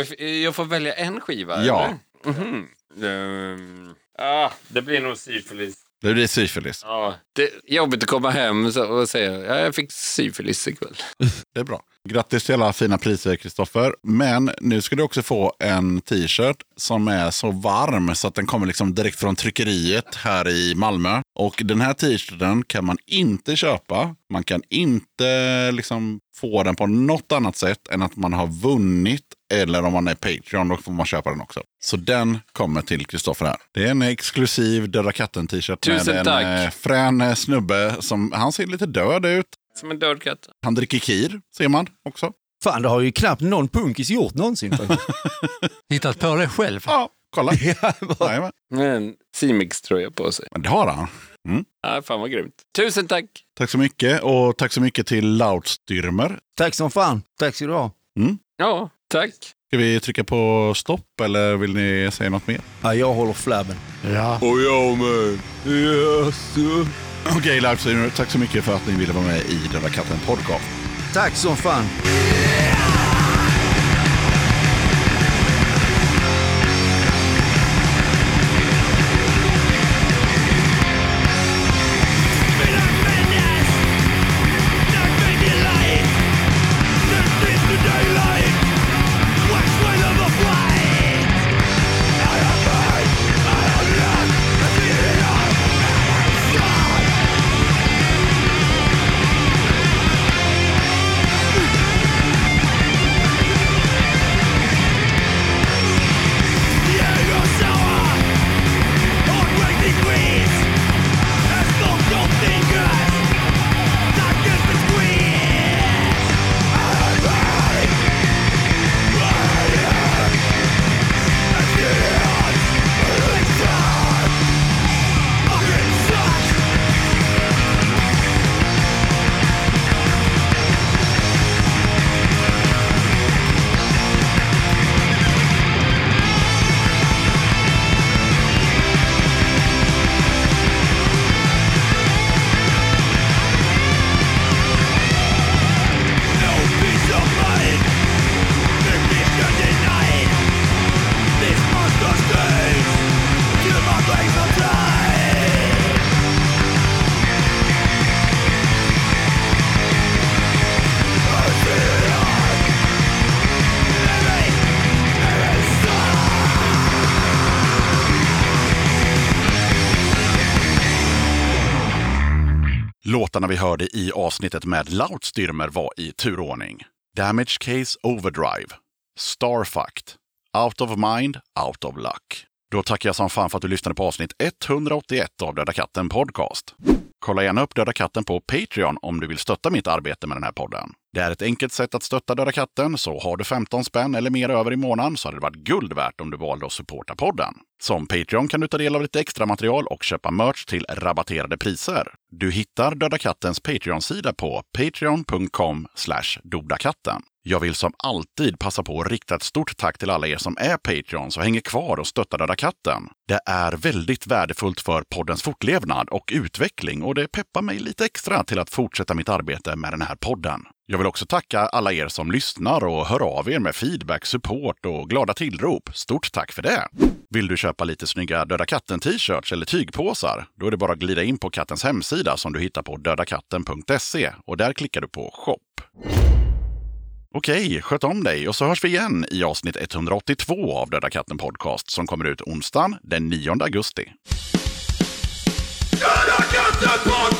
jag får välja en skiva?
Ja.
eller? Mhm. Ehm, ah, det blir nog syfilis.
Det blir syfilis.
Ja, det är jobbigt att komma hem så- och säga ja, jag fick syfilis ikväll.
Det är bra. Grattis till alla fina priser Kristoffer. Men nu ska du också få en t-shirt som är så varm så att den kommer liksom direkt från tryckeriet här i Malmö. Och den här t-shirten kan man inte köpa. Man kan inte liksom få den på något annat sätt än att man har vunnit eller om man är Patreon, då får man köpa den också. Så den kommer till Kristoffer här. Det är en exklusiv Döda katten-t-shirt med
Tusen
en
tack.
eh, frän eh, snubbe som, han ser lite död ut.
Som en död katt.
Han dricker kir, ser man också.
Fan, det har ju knappt någon punkis gjort någonsin. faktiskt.
*laughs*
Hittat på det själv.
Ja,
*laughs*
kolla.
ja, vad-
Jajamän.
Med en Simix-tröja på sig.
Men det har han.
Ja, fan vad grymt. Tusen tack!
Tack så mycket och tack så mycket till Lautstürmer.
Tack som fan. Tack ska du ha.
Ja, tack.
Ska vi trycka på stopp eller vill ni säga något mer?
Ja, jag håller flabben.
Ja.
Och jag med. Okej, Lautstürmer, tack så mycket för att ni ville vara med i Döda katten podcast.
Tack som fan.
Låtarna vi hörde i avsnittet med Lautstürmer var i turordning. Damage Case Overdrive, Starfucked, Out of Mind, Out of Luck. Då tackar jag som fan för att du lyssnade på avsnitt 181 av Döda katten Podcast. Kolla gärna upp Döda katten på Patreon om du vill stötta mitt arbete med den här podden. Det är ett enkelt sätt att stötta Döda katten, så har du 15 spänn eller mer över i månaden så hade det varit guld värt om du valde att supporta podden. Som Patreon kan du ta del av lite extra material och köpa merch till rabatterade priser. Du hittar Döda kattens Patreon-sida på patreon.com dodakatten. Jag vill som alltid passa på att rikta ett stort tack till alla er som är Patreons och hänger kvar och stöttar Döda katten. Det är väldigt värdefullt för poddens fortlevnad och utveckling och det peppar mig lite extra till att fortsätta mitt arbete med den här podden. Jag vill också tacka alla er som lyssnar och hör av er med feedback, support och glada tillrop. Stort tack för det! Vill du köpa lite snygga Döda katten-t-shirts eller tygpåsar? Då är det bara att glida in på kattens hemsida som du hittar på dödakatten.se och där klickar du på shop. Okej, sköt om dig och så hörs vi igen i avsnitt 182 av Döda katten podcast som kommer ut onsdagen den 9 augusti.
Döda katten podcast!